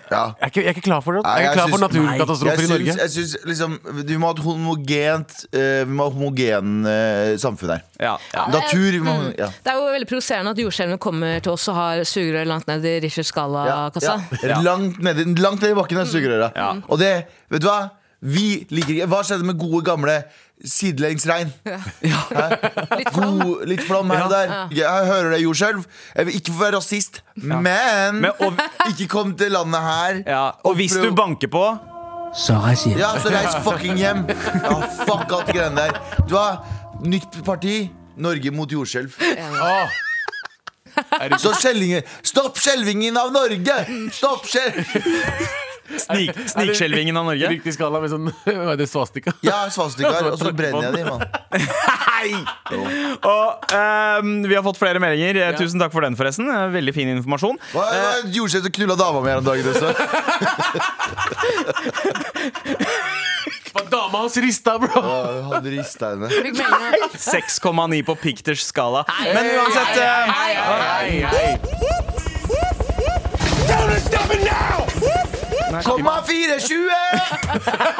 Ja. Jeg er ikke, jeg er ikke klar for det. Nei, Jeg er jeg ikke klar for syns- Jeg naturkatastrofer i Norge. syns, jeg syns liksom Vi må ha et homogent eh, Vi må ha et homogen eh, samfunn her. Ja, ja. Natur vi må, ja. Det er jo veldig provoserende at jordskjelvene kommer til oss og har sugerør langt ned i Richards Ja, Gala-kassa. ja. Langt nedi langt ned i bakken er sugerøra. Og det, vet du hva? Vi liker ikke Hva skjedde med gode, gamle sidelengsregn? Litt fram. God, litt flom her og der. Jeg hører det jordskjelv. Jeg vil ikke få være rasist, men Men, og, ikke kom til landet her. ja. og hvis du banker på Ja, så reis fucking hjem. Ja, fuck alt det greiene der. Du har nytt parti. Norge mot jordskjelv. Åh. Så skjelvingen- Stopp skjelvingen av Norge! Stopp skjelv... snik, snikskjelvingen av Norge. Riktig skala med sånn Hva er det, svastika? Ja, svastikaer, og så brenner jeg dem. mann. Og ehm, vi har fått flere meldinger. Eh, Tusen takk for den, forresten. Eh, Veldig fin informasjon. Hva hva er det jordskjelv som knulla dama mi her om dagen også? Hva Dama hans rista, bro! Ja, Han rista henne. Fikk melding om- 6,9 på Pichters skala. Men uansett eh, Komma 420!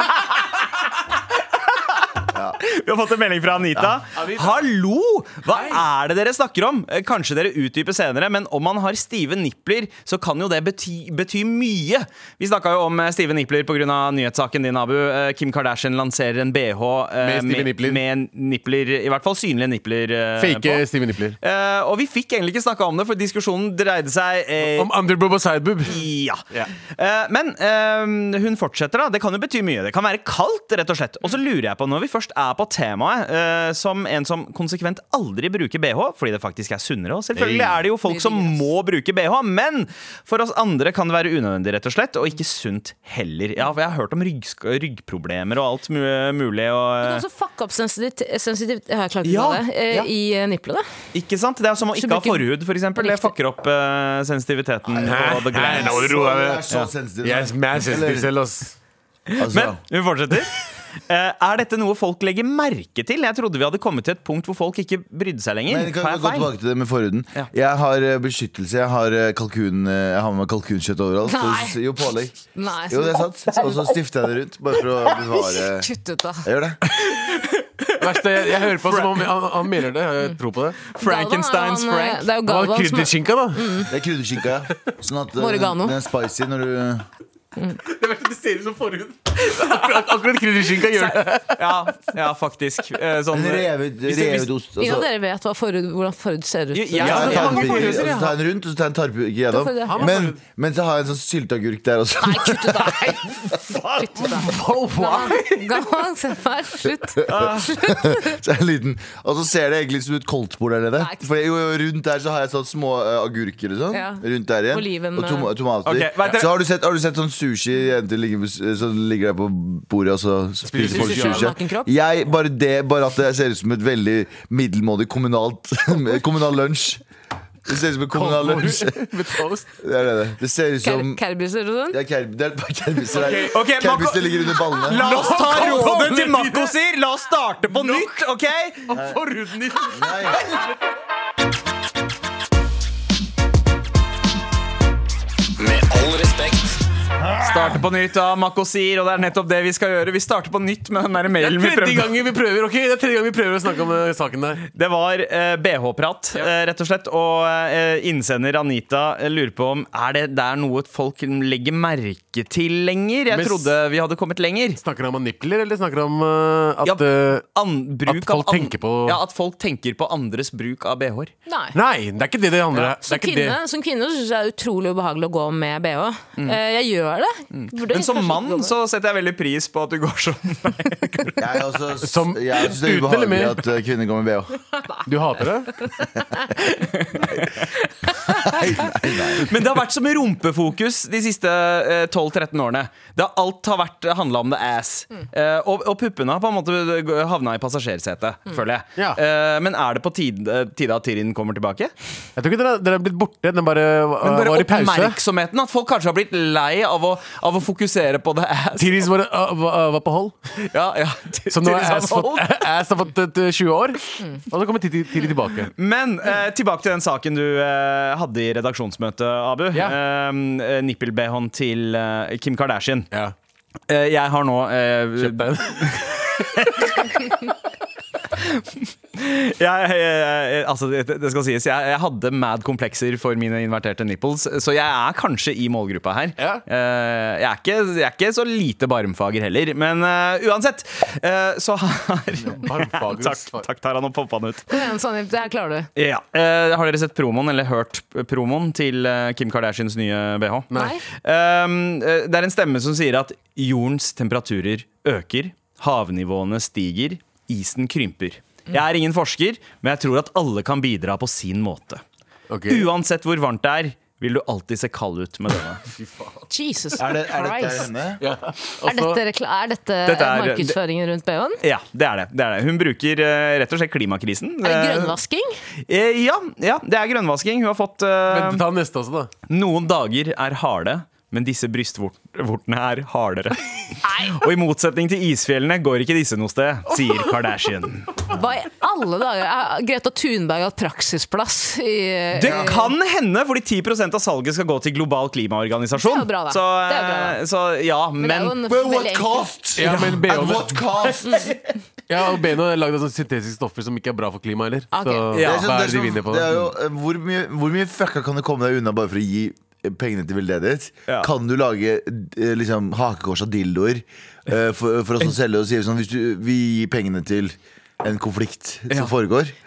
Vi har fått en melding fra Anita. Hallo! Hva er det dere snakker om? Eh, Kanskje dere utdyper senere, men om man har stive nipler, så kan jo det bety, bety mye. Vi snakka jo om eh, stive nipler pga. nyhetssaken din, Abu. Eh, Kim Kardashian lanserer en bh eh, Med stive nipler. med nipler, i hvert fall synlige nipler. eh, Fake på. Steven Nippler. Eh, og vi fikk egentlig ikke snakka om det, for diskusjonen dreide seg eh, Om underboob og sideboob. ja. Eh, men eh, hun fortsetter, da. Det kan jo bety mye. Det kan være kaldt, rett og slett. Og så lurer jeg på, når vi først er på temaet, eh, som en som konsekvent aldri bruker bh, fordi det faktisk er sunnere og Selvfølgelig er det jo folk som må bruke bh, men for oss andre kan det være unødvendig, rett og slett, og ikke sunt heller. Ja, for jeg har hørt om ryggsk- ryggproblemer og alt mu- mulig, Du kan og eh, også fucke opp sensitivt, sensitivt jeg har klart å Ja, ta det, eh, ja. i eh, nipplene. Ikke sant? Det er som å Så ikke ha bruker- forhud, for eksempel. Det Riktig. fucker opp eh, sensitiviteten. på the glands. Nei, nå må du roe Jeg deg. er så sensitiv. Jeg er mer sensitiv selv, ass. Altså, Men vi fortsetter. Eh, er dette noe folk legger merke til? Jeg trodde vi hadde kommet til et punkt hvor folk ikke brydde seg lenger. Men kan vi Tar jeg gå feil? tilbake til det med forhuden? Ja. Jeg har eh, beskyttelse. Jeg har, eh, kalkun, eh, jeg har med meg kalkunkjøtt overalt. Nei. Så, jo, pålegg. Nei, Jo, det er sant. Og så stifter jeg det rundt, bare for å bevare Jeg Kutt ut, da. gjør det. Verst er- jeg, jeg hører på som om han, han mener det. Jeg tror på det. Galvan er Frankensteins jo han, eh, Frank. Det er Mm. jo Hva var Galvan som er krydderskinka, da? Det er krydderskinka, ja. Sånn at eh, Oregano. den er spicy når du Det ser ut som forhud. Akkurat, akkurat krydderskinka gjør det. Ja, ja faktisk. Eh, sånn, En revet, hvis det- hvis- revet ost. altså. og Ingen så- av dere vet hva forhud, hvordan forhud ser ut. Jo, jeg- Ja, Ja, jeg det er tar mange en pigg, og forhuser, så ja. tar jeg en rundt, og så tar jeg en tarpe ikke Det er gjennom. forhud. Men, men så har jeg en sånn sylteagurk der også. Nei, kutt ut, da! Kutt ut, da. Galvan, Galvan, se på her. Slutt. Så er jeg liten. Og så ser det egentlig ut som et koldtbord der nede. Nei. For jeg- jo, rundt der så har jeg sånn små eh, agurker og sånn. Ja. Rundt der igjen. Oliven, og tom eh. tomater. Ok, vet dere- Så har du sett, har du sett sånn sushi jenter ligge på s- som ligger greia på bordet, og så Spiser spiser folk sushi av sushi. naken kropp? Jeg, bare, det, bare at det ser ut som et veldig middelmådig kommunalt kommunal lunsj. Det ser ut som en kommunal lunsj. Med toast. Det er det. det. Det ser ut som Kerbiser og sånn? ja, kerb, Det er bare kerbiser her. Ok, ok, Marco- Kerbiser ligger under ballene. La oss ta Nå kommer rådet til vi Marco sier! La oss starte på nytt, OK? Og forhuden i Med all respekt. Starte på nytt av Marco sier, og det er nettopp det vi skal gjøre. Vi starter på nytt med den der Det er mailen vi tredje prøvde. gangen vi prøver ok, det er tredje gangen vi prøver å snakke om eh, saken der. Det var eh, BH-prat, eh, rett og slett. Og eh, innsender Anita eh, lurer på om er det, det er noe folk legger merke til lenger. Jeg Men s- trodde vi hadde kommet lenger. Snakker han om nipler, eller snakker han om eh, at Ja, eh, an, bruk folk av an, tenker på- Ja, At folk tenker på andres bruk av bh-er. Nei. Nei, det er ikke det det handler om. Det Som er ikke det. kvinne, som kvinne så syns jeg det er utrolig ubehagelig å gå med bh. Eh, Jeg gjør det. Burde Mm. Men som kanskje ikke mann gå med. så setter jeg veldig pris på at du går sånn. Jeg, er også, Som- jeg syns det er uten eller ubehagelig med? at eh, kvinner går med bh. Du hater det? Men det har vært som rumpefokus de siste eh, 12-13 årene. Det har, alt har vært handla om the ass. Mm. Eh, og, og puppene har på en måte havna i passasjersetet, føler jeg. Mm. Ja. Eh, men er det på tide, tide at Tirin kommer tilbake? Jeg tror ikke dere, dere er blitt borte. Den bare, eh, Men var bare i pause. oppmerksomheten. At folk kanskje har blitt lei av å, av å fokusere på the ass. Tiris var, eh, var- var på hold. Ja, ja. Så nå har Tirin ass som fått, ass har fått et, eh, 20 år. Mm. Og så kommer Tiri Tiri tilbake. Men eh, tilbake til den saken du eh, hadde i redaksjonsmøtet, Abu. Ja. Eh, Nippel-BH-en til eh, Kim Kardashian. Ja. Eh, jeg har nå eh, Den. jeg, jeg, jeg, altså, det det skal sies, jeg, jeg hadde mad komplekser for mine inverterte nipples, så jeg er kanskje i målgruppa her. Ja. Eh, jeg, er ikke, jeg er ikke så lite barmfager heller, men eh, uansett, eh, så har barmfager, Takk, svar. takk Taran, nå poppa han ut. Kom igjen, Sandeep, sånn- det her klarer du. Ja. Eh, har dere sett promoen, eller hørt promoen til eh, Kim Kardashians nye BH? Nei. Um, eh, det er en stemme som sier at jordens temperaturer øker, havnivåene stiger, isen krymper. Jeg er ingen forsker, men jeg tror at alle kan bidra på sin måte. Ok. Uansett hvor varmt det er, vil du alltid se kald ut med denne. Jesus Er, det, er dette Christ. henne? Er dette, rekla er dette, Dette er- markedsføringen rundt bh-en? Ja, det er det. det, er det. Hun bruker eh, rett og slett klimakrisen. Er det grønnvasking? Eh, ja, ja, det er grønnvasking. Hun har fått eh, Men ta neste også, da. Noen dager er harde, men disse brystvortene er hardere. Og i motsetning til isfjellene går ikke disse noe sted, sier Kardashian. Hva i alle dager? Er Greta Thunberg hatt praksisplass i Det kan hende, fordi 10 av salget skal gå til global Det klimaorganisasjon. er jo bra, da. Så, eh, Det er jo bra, da. så ja, men, det er jo en But what veldig enkel- cost? Ja, men At BH-en what cost? ja, og BH er lagd av sånne syntetiske stoffer som ikke er bra for klimaet heller. Ok. Så Ja. Det er sånn- hva det er er det de sånn- vinner på? det er da? jo, eh, hvor, mye, hvor mye fucka kan du komme deg unna bare for å gi eh, pengene til veldedighet? Ja. Kan du lage eh, liksom, hakekors av dildoer eh, for, for oss som selger og sier sånn Hvis du, vi gir pengene til en konflikt som foregår Så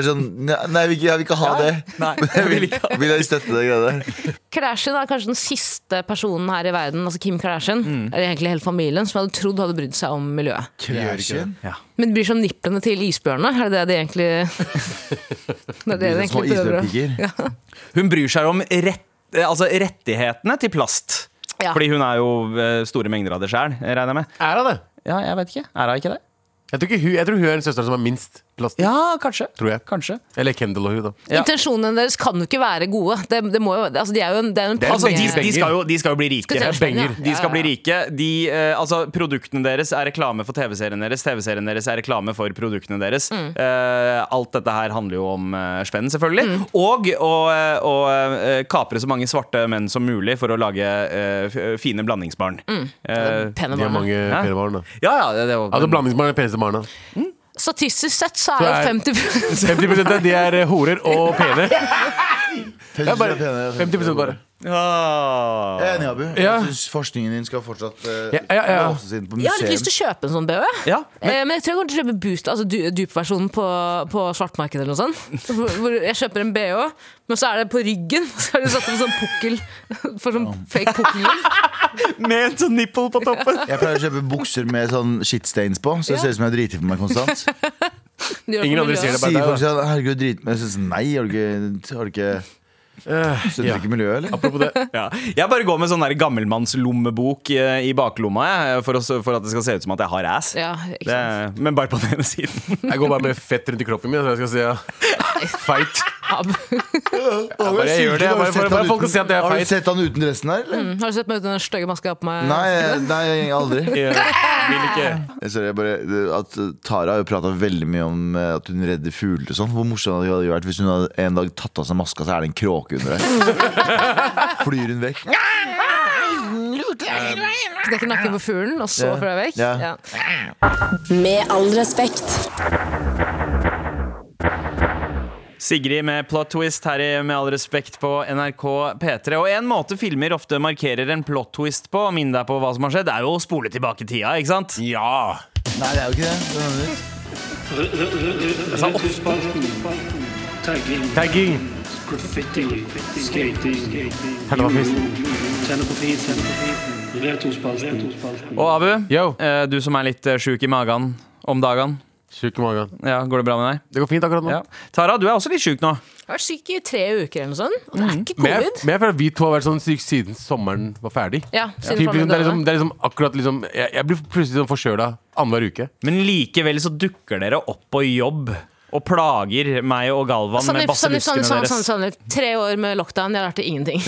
er det sånn Nei, nei vi, jeg vil ikke ha det. Nei, Men jeg vil, vil jeg støtte det greia der? Kardashian er kanskje den siste personen her i verden, altså Kim Kardashian, Mm. eller egentlig hele familien, som jeg hadde trodd hadde brydd seg om miljøet. Men de bryr seg om nipplene til isbjørnene, er det det de egentlig Det er det de Små egentlig prøver å isbjørnpiker. Hun bryr seg om rett, eh, altså rettighetene til plast. Ja. Fordi hun er jo eh, store mengder av det sjøl, regner jeg med. Er hun det? Ja, jeg vet ikke. Er hun ikke det? Jeg tror, ikke hun, jeg tror hun er den søsteren som er minst plast. Ja, kanskje. Tror jeg. Kanskje. Eller Kendal og hun, da. Ja. Intensjonene deres kan jo ikke være gode. Det, det må jo, altså, de er jo en, det er jo en Det er Altså, mye de, de, penger. skal jo, de skal jo bli rike. tjene penger. De skal bli rike. De, eh, altså, produktene deres er reklame for TV-serien deres. TV-serien deres er reklame for produktene deres. Mm. Eh, alt dette her handler jo om eh, spenn, selvfølgelig. Mm. Og å eh, å, eh, kapre så mange svarte menn som mulig for å lage eh, f- fine blandingsbarn. Mm. Eh, pene De har barna. mange pene barn, da. ja, ja, det, det var, Altså Blandingsbarn er de peneste barna. Statistisk sett så Så er jo er- 50 50 av de er eh, horer og pene. Det er bare 50 50 bare. Ah. Jeg er enig, Abu. Ja. Jeg syns forskningen din skal fortsatt eh, Ja, ja, ja. låses inn på Jeg har litt museum. lyst til å kjøpe en sånn BH. jeg. Ja, men- Eh, men jeg tror jeg kommer til å kjøpe boost, altså du- dupe-versjonen på, på svartmarkedet eller noe sånt. Hvor- Hvor jeg kjøper en BH, men så er det på ryggen. Så er det satt opp sånn pukkel. For sånn fake pukkel. Med en sånn nipple på toppen. Jeg pleier å kjøpe bukser med sånn shitstains på, så det Ja. ser ut som jeg driter på meg konstant. Det gjør Ingen for andre miljøet. ser det. Sier bare sånn, folk sånn Herregud, drit meg. Jeg synes, Nei, har du ikke, har du ikke Støtter ja. ikke miljøet, eller? eh, Apropos det. Ja. Jeg bare går med sånn der gammelmannslommebok eh, i baklomma jeg, for, å s- for at det skal se ut som at jeg har ass. Ja, ikke det, sant. men bare på den ene siden. Jeg går bare med fett rundt i kroppen min. Så jeg skal si ja. Feit. Har bare gjør det, jeg bare- bare- bare folk kan si at jeg er Har du feit. sett han uten dressen der, eller? Har du sett meg uten den stygge maska jeg har på meg? Nei, nei, aldri. Vil ikke. Jeg ser det bare, det- at uh, Tara har jo prata veldig mye om uh, at hun redder fugler og sånn. Hvor morsomt det hadde vært hvis hun hadde en dag tatt av seg maska, så er det en kråke under der. Flyr hun vekk. Knekker nakken på fuglen, og så Ja. får jeg vekk? Ja. Ja. Med all respekt. Sigrid med plot twist her i Med all respekt på NRK P3. Og en måte filmer ofte markerer en plot twist på, minn deg på hva som har skjedd, er jo å spole tilbake tida, ikke sant? Ja. Nei, det er jo ikke det. det. er noe nytt. Spalten. Tagging. Tagging. Graffiti. Skating. Tenne på fisen. Tenne på fisen. Retrospalten. Og Abu, Yo. eh, du som er litt eh, sjuk i magen om dagen. Sjuk i magen. Ja, går det bra med deg? Det går fint akkurat nå. Ja. Tara, du er også litt sjuk nå. Jeg har vært syk i tre uker eller noe sånt, og det er ikke Men jeg, covid. men jeg føler at vi to har vært sånn syke siden sommeren var ferdig. Ja, siden Typ, liksom, det, er sommeren liksom, det er liksom akkurat liksom Jeg, jeg blir plutselig sånn forkjøla annenhver uke. Men likevel så dukker dere opp på jobb og plager meg og Galvan med Sannif, sannif, basseluskene sannif, sannif, deres. sannif, sannif. Tre år med lockdown, jeg lærte ingenting.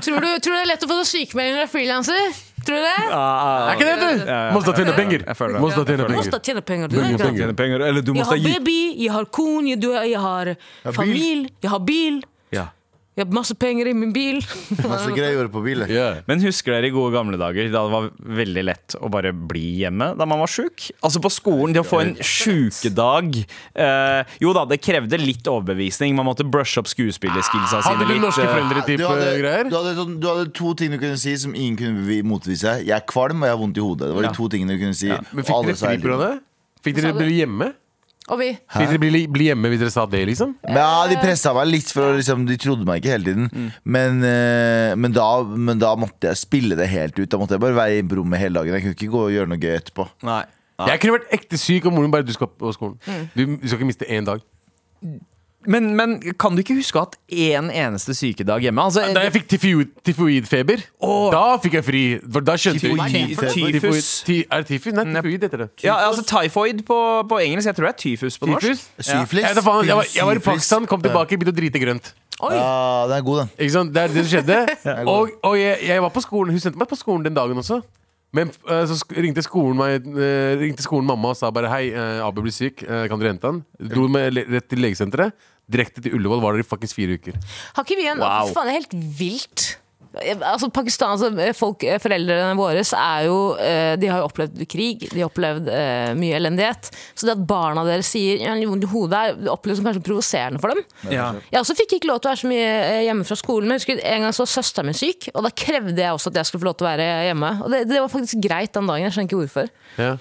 tror, du, tror du det er lett å få sånn sykemelding når du er frilanser? Tror du det? Ah, Er ikke det, du? Måste tjene penger. Jeg føler det. Måste tjene Du penger. må tjene penger. Du, Penger, ikke sant? penger. penger, eller du Jeg har baby, jeg har kone, du- jeg har familie, jeg har bil. Ja. Jeg har masse penger i min bil. Masse greier å gjøre på bil. jeg. Yeah. Men husker dere i gode gamle dager da det var veldig lett å bare bli hjemme da man var sjuk? Altså på skolen, det å få en sjukedag eh, Jo da, det krevde litt overbevisning. Man måtte brushe opp skuespillerskillsa sine Ah, Hadde du litt. norske eh, Du foreldre-type hadde, greier? du, hadde sånn, du hadde to ting du kunne si som ingen kunne vi- motvise. Jeg er kvalm, og jeg har vondt i hodet. Det var de to tingene du kunne si. Men og Fikk alle dere sa fri hele pga. tiden. det? Fikk dere bli hjemme? Og vi. Fikk dere bli, bli hjemme hvis dere sa det, liksom? Men ja, de pressa meg litt, for å liksom, de trodde meg ikke hele tiden. Mm. Men, eh, men, da, men da måtte jeg spille det helt ut. Da måtte jeg bare være i rommet hele dagen. Jeg kunne ikke gå og gjøre noe gøy etterpå. Nei. Jeg kunne vært ekte syk, og moren bare Du skal på skolen. Du, du skal ikke miste én dag. Men, men kan du ikke huske at én eneste sykedag hjemme? Altså, Da jeg fikk tyfoi- tyfoidfeber, Åh. da fikk jeg fri. For da skjønte Tyfoid- jeg Tyfus. Tyfoid- ty- Er det tyfus? Nei, tyfoid heter det. ja, altså Typhoid på, på engelsk. Jeg tror det er tyfus på norsk. Tyfus? Syflis? Jeg, vet da faen, jeg, var, jeg var i Syflis. Pakistan, kom tilbake, begynte å drite grønt. Oi. Ja, den er god, den. Ikke sant? Det er det som skjedde. Og, og jeg, jeg var på skolen Hun sendte meg på skolen den dagen også. Men eh, så sk- ringte skolen, meg, eh, ringte skolen mamma og sa bare Hei, uh, Abu blir syk, eh, kan dere hente han? Dro med le rett til legesenteret. Direkte til Ullevål var der i fuckings fire uker. Har ikke vi en Wow. Faen, det er helt vilt. Altså, Pakistanske folk, eh, foreldrene våre er jo, eh, de har jo opplevd krig, de har opplevd eh, mye elendighet. Så det at barna deres sier «Jeg har litt vondt i hodet, er- det oppleves som kanskje provoserende for dem. Ja. Jeg også fikk ikke lov til å være så mye eh, hjemme fra skolen. Men jeg husker En gang så var søsteren min syk, og da krevde jeg også at jeg skulle få lov til å være hjemme. Og det, det var faktisk greit den dagen. Jeg skjønner ikke hvorfor.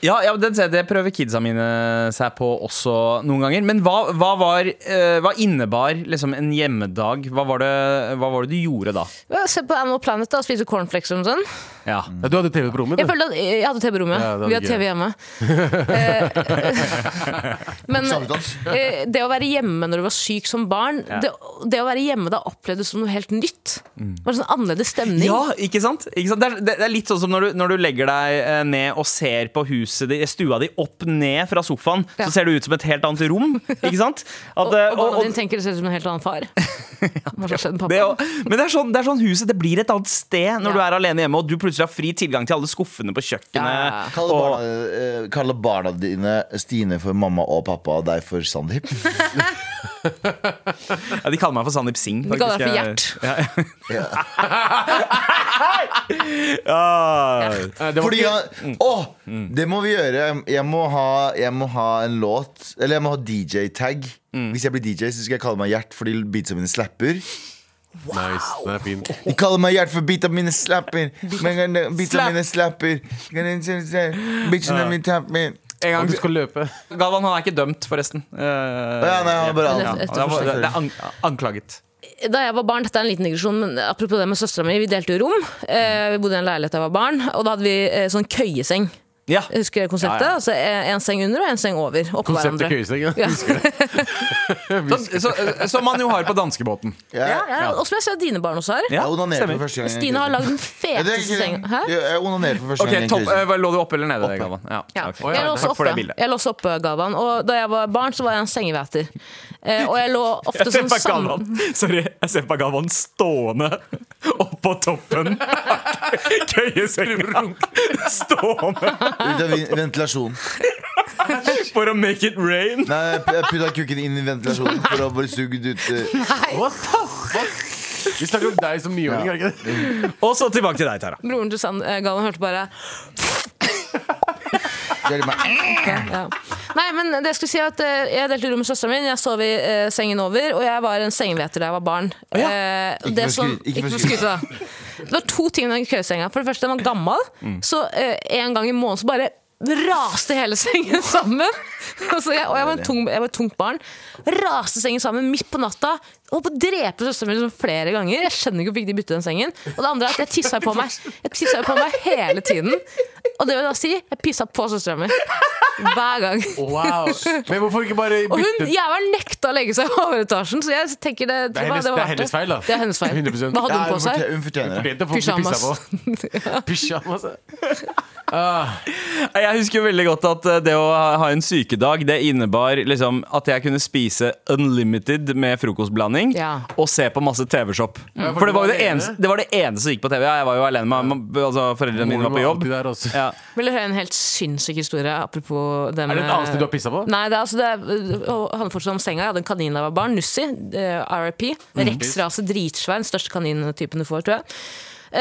Ja, ja det, det prøver kidsa mine seg på også noen ganger. Men hva, hva, var, eh, hva innebar liksom, en hjemmedag? Hva var, det, hva var det du gjorde da? Ja, Se på Animal Planet da, og spise cornflakes og sånn. Ja. Ja, du hadde TV på rommet? Jeg du. følte at eh, jeg hadde TV på rommet. Ja, det hadde Vi hadde ikke TV jeg. hjemme. Eh, Men eh, det å være hjemme når du var syk som barn, det, det å være hjemme da opplevdes som noe helt nytt. Det var en sånn annerledes stemning. Ja, ikke sant? Ikke sant? Det, er, det, det er litt sånn som når du, når du legger deg eh, ned og ser på huset di, stua di opp ned fra sofaen, Ja. så ser det ut som et helt annet rom. Ikke sant? At, Og, eh, og barna dine tenker det ser ut som en helt annen far. Hva som skjedde med pappa? det, er jo- men det er, sånn, det er sånn huset Det blir et annet sted når Ja. du er alene hjemme og du plutselig har fri tilgang til alle skuffene på Ja. kjøkkenet. Kalle Og, barna, eh, kalle barna dine Stine for mamma og pappa og deg for Sandeep. ja, de kaller meg for Sandeep Singh. De kaller faktisk. deg for Gjert. Ja. Eh, det var Fordi ikke- Mm. han Å! Det må vi gjøre. Jeg må ha, jeg må ha en låt Eller jeg må ha DJ-tag. Mm. Hvis jeg blir DJ, så skal jeg kalle meg Gjert fordi beatsa mine slapper. Nice, den er fin. De kaller meg Gjert for beatsa mine slapper. Men kan- Beatsa mine slapper. Kan jeg se- se- Bitchene mine tapper. En Og gang du skal løpe. Galvan han er ikke dømt, forresten. Eh, Ja, nei, han er bare Ja. han- det, er, det er an anklaget. da jeg var barn, dette er en liten digresjon, men apropos det med søstera mi, vi delte jo rom. Eh, vi bodde i en leilighet da jeg var barn, og da hadde vi eh, sånn køyeseng. Ja. Jeg husker det konseptet. Ja, ja. Altså eh, en seng under og en seng over. Oppå Konseptet hverandre. køyeseng. Ja. Ja. Så, så, som man jo har på danskebåten. Ja, ja. Og som jeg ser at dine barn også har. Ja, Jeg onanerer stemmer. for første gang. i en Stine har krise. lagd den Ja, det er feteste ikke- senga. Hæ? Ja, Jeg onanerer for første Ok, gang. i en topp, krise. eh, Lå du oppe eller nede? Galvan? Ja, Ja. ok. Jeg lå også Takk for det oppe. bildet. Jeg lå også oppe, Gavan. Og da jeg var barn, så var jeg en sengevæter. Eh, og jeg lå ofte Jeg ser sånn på sammen Galvan Sorry, jeg ser på Galvan stående oppå toppen av køyesenga. Stående Ut av vin- ventilasjon. for å make it rain. Nei, jeg p- jeg putta kukken inn i ventilasjonen for å bli sugd ut. eh. What the fuck? Vi snakker om deg som niåring, er det ikke det? Og så tilbake til deg, Tara. Broren til Sand, eh, Galvan hørte bare Det er meg. ja. Nei, men det jeg skulle si er at eh, Jeg delte rom med søsteren min, jeg sov i eh, sengen over, og jeg var en sengeveter da jeg var barn. ja. Eh, Ikke det for som- skryt- ikke Ikke for for å skryte, da. Det var to ting med den køsenga. For det første, den var gammel, så eh, en gang i måneden så bare Raste hele sengen sammen! Og så jeg, og jeg var, en tung, jeg var et tungt barn. Raste sengen sammen midt på natta. Holdt på å drepe søsteren min liksom flere ganger. Jeg skjønner ikke hvorfor ikke de byttet den sengen. Og det andre er at jeg tissa på meg Jeg tisset jo på meg hele tiden. Og det vil da si jeg pissa på søstera mi. Hver gang. Wow. Men hvorfor ikke bare Og hun bytte jævla nekta å legge seg i overetasjen, så jeg tenker det, Det er hennes- var det er verdt hennes feil, da. Det er hennes feil. 100%. Hva hadde Ja, hun hun, på seg? fortjente- hun fortjener Eh, det. Fortjente folk å bli pissa på. Pyjamas. Ah, Jeg husker jo veldig godt at eh, det å ha ha en sykedag, det innebar liksom at jeg kunne spise unlimited med frokostblanding Ja. og se på masse TV-shop. for For du det var var jo det alene? eneste, det var det eneste som gikk på TV. Ja, jeg var jo alene, med, med- altså, foreldrene mine var på jobb. Der også. Ja. Vil du høre en helt sinnssyk historie apropos det Er med det et annet sted du har pissa på? Nei, det, er, altså, det er, og handler fortsatt om senga. Jeg hadde en kanin da jeg var barn. Nussi. Eh, RIP. Rex-rase, dritsvein. Største kanintypen du får, tror jeg.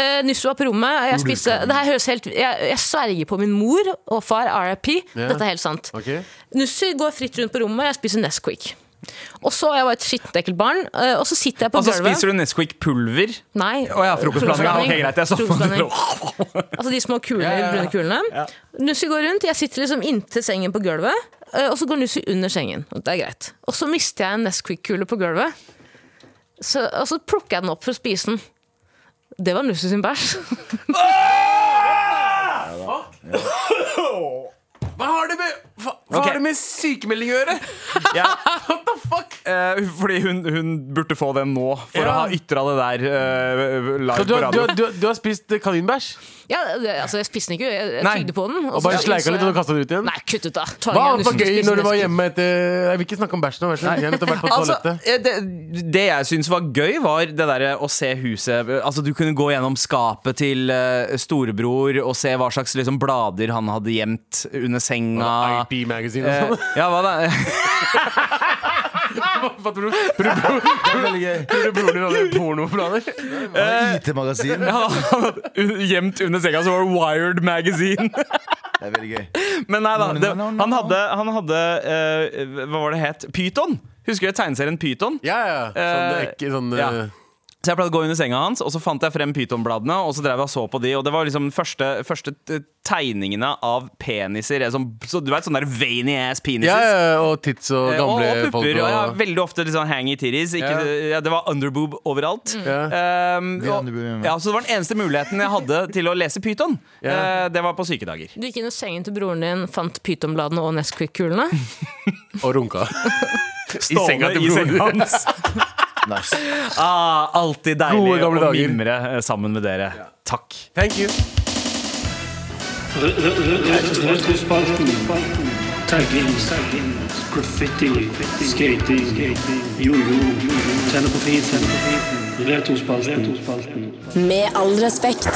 Eh, Nussi var på rommet. og Jeg, spiste, det her høres helt, jeg, jeg sverger på min mor og far. RIP. Ja. Dette er helt sant. Ok. Nussi går fritt rundt på rommet, jeg spiser Nesquik. Og så, Jeg var et skittent ekkelt barn. eh, Og så sitter jeg på Altså gulvet. spiser du Nesquik-pulver. Nei. Å ja, frokostblandinga. Ok, greit. Jeg så Frokostblanding. Altså de små kulene, Ja, ja, ja. brune kulene. Nussi går rundt, jeg sitter liksom inntil sengen på gulvet, eh, og så går Nussi under sengen. og Det er greit. Og så mister jeg en Nesquik-kule på gulvet, så, og så plukker jeg den opp for å spise den. Det var Nussi sin bæsj. Hva har det med, hva, hva Ok. har det med sykemelding å gjøre? Ja. What the fuck? Eh, fordi hun, hun burde få den nå, for å Ja. ha ytra det der eh, Så live du, på har- du, radio. har- du, har- du har spist eh, kaninbæsj? Ja, det, altså Jeg spiste den ikke, jeg, jeg Nei. tygde på den. Og bare sleika litt og kasta den ut igjen? Nei, kutt ut, da. Ta igjen, Hva annet var Nussi, gøy spis når du var Nesquik. hjemme etter Jeg vil ikke snakke om bæsjen. nå, vær så snill. Jeg har nettopp vært på Altså, toalettet. eh, det, det jeg syns var gøy, var det derre å se huset Altså, du kunne gå gjennom skapet til eh, storebror og se hva slags liksom, blader han hadde gjemt under senga. IP Magazine Eh, og sånn. ja, hva da? Hva tror du? Tror du bro- tror du- tror du broren din hadde pornoplaner? IT-magasin. Han hadde un- Gjemt under senga så var det Wired Magazine. Det er veldig gøy. Men nei da. No, no, Det, no, no. han hadde, han hadde eh, Hva var det het? Pyton! Husker du tegneserien Pyton? Ja, ja. Sånn, Eh, ikke, sånn, ja. eh, Så jeg pleide å gå under senga hans, og så fant jeg frem pytonbladene, og så drev jeg og så på de, og det var liksom den første, første t- tegningene av peniser. jeg Som, så du vet, sånne der veiny ass penises. ja, ja, og tits og Eh, gamle og, og folk. pupper. Og, ja, Og, veldig ofte litt sånn hangy titties. Ikke, Ja. ja, det var underboob overalt. Um, De og, underboob hjemme. ja, så det var den eneste muligheten jeg hadde til å lese pyton. Ja. Eh, det var på sykedager. Du gikk inn i sengen til broren din, fant pytonbladene og Nesquik-kulene. og runka. Stående senga til broren. hans. Nice. ah, alltid Gode deilig å gamle dager. mimre eh, sammen med dere. Takk. Thank you. Retrospalten. Tagging. Graffiti. Skating. Jojo. Tenne på fisen. Retrospalten. Med all respekt.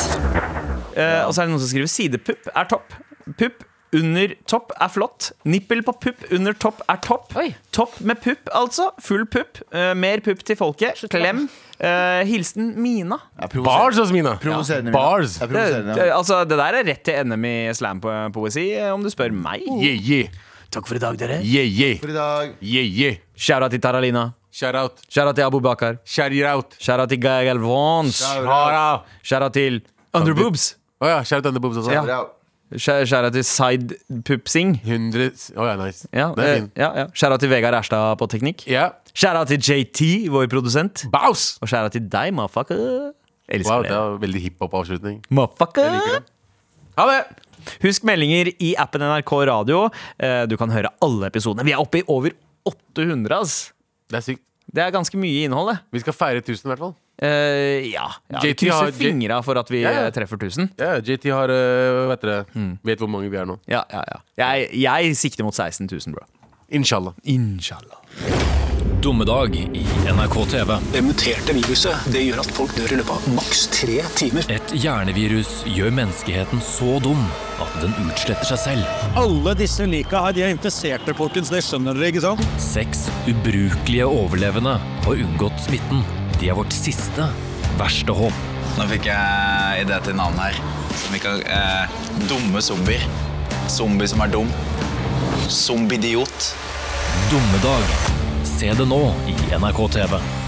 Eh, og så er det noen som skriver sidepupp er topp. Pupp under topp er flott. Nippel på pupp under topp er topp. Oi. Topp med pupp, altså. Full pupp. Eh, mer pupp til folket. Klem. Eh, hilsen Mina. Jeg provoserer- Bars, altså, Mina. Provoserende. Bars. Jeg Det, provoserer det, deg. altså, det der er rett til NM i slampoesi, eh, om du spør meg. Yeah, yeah. Takk for i dag, dere. Yeah, yeah. For i dag Yeah, yeah. Shoutout til Taralina. Shout out. Shoutout til Abu Bakar. Shout it out. Shoutout til Gaia Galvans. Shout out. Shoutout til Underboobs. Å ja. Shout out under boobs også. Ja. bra. Shoutout til Sidepupsing. 100 s- Å ja, nice. Ja, Det er eh, fin. ja, ja. Shoutout til Vegard Erstad på teknikk. Ja. Shoutout til JT, vår produsent. Baus! Og skjæra til deg, motherfucker. Elsker Wow, det det. var veldig hiphop-avslutning. Motherfucker. Jeg liker det. Ha det! Husk meldinger i appen NRK Radio. Eh, Du kan høre alle episodene. Vi er oppe i over 800, ass. Det er sykt. Det er ganske mye innhold, det. Vi skal feire 1000, i hvert fall. Eh, ja. ja vi JT har- krysser fingra for at vi Ja, ja. eh, treffer 1000. Ja, JT har eh, øh, vet, dere, vet hvor mange vi er nå. Ja, ja, ja. Jeg, jeg sikter mot 16 000, bro. Inshallah. Inshallah. Dommedag i NRK TV. Det muterte viruset det gjør at folk dør i løpet av maks tre timer. Et hjernevirus gjør menneskeheten så dum at den utsletter seg selv. Alle disse lika her, de er interesserte, folkens. Det skjønner dere, ikke sant? Seks ubrukelige overlevende har unngått smitten. De er vårt siste verste håp. Nå fikk jeg idé til navn her. Som vi kan eh, Dumme zombier. Zombie som er dum. Zombidiot. Dommedag. Se det nå i NRK TV.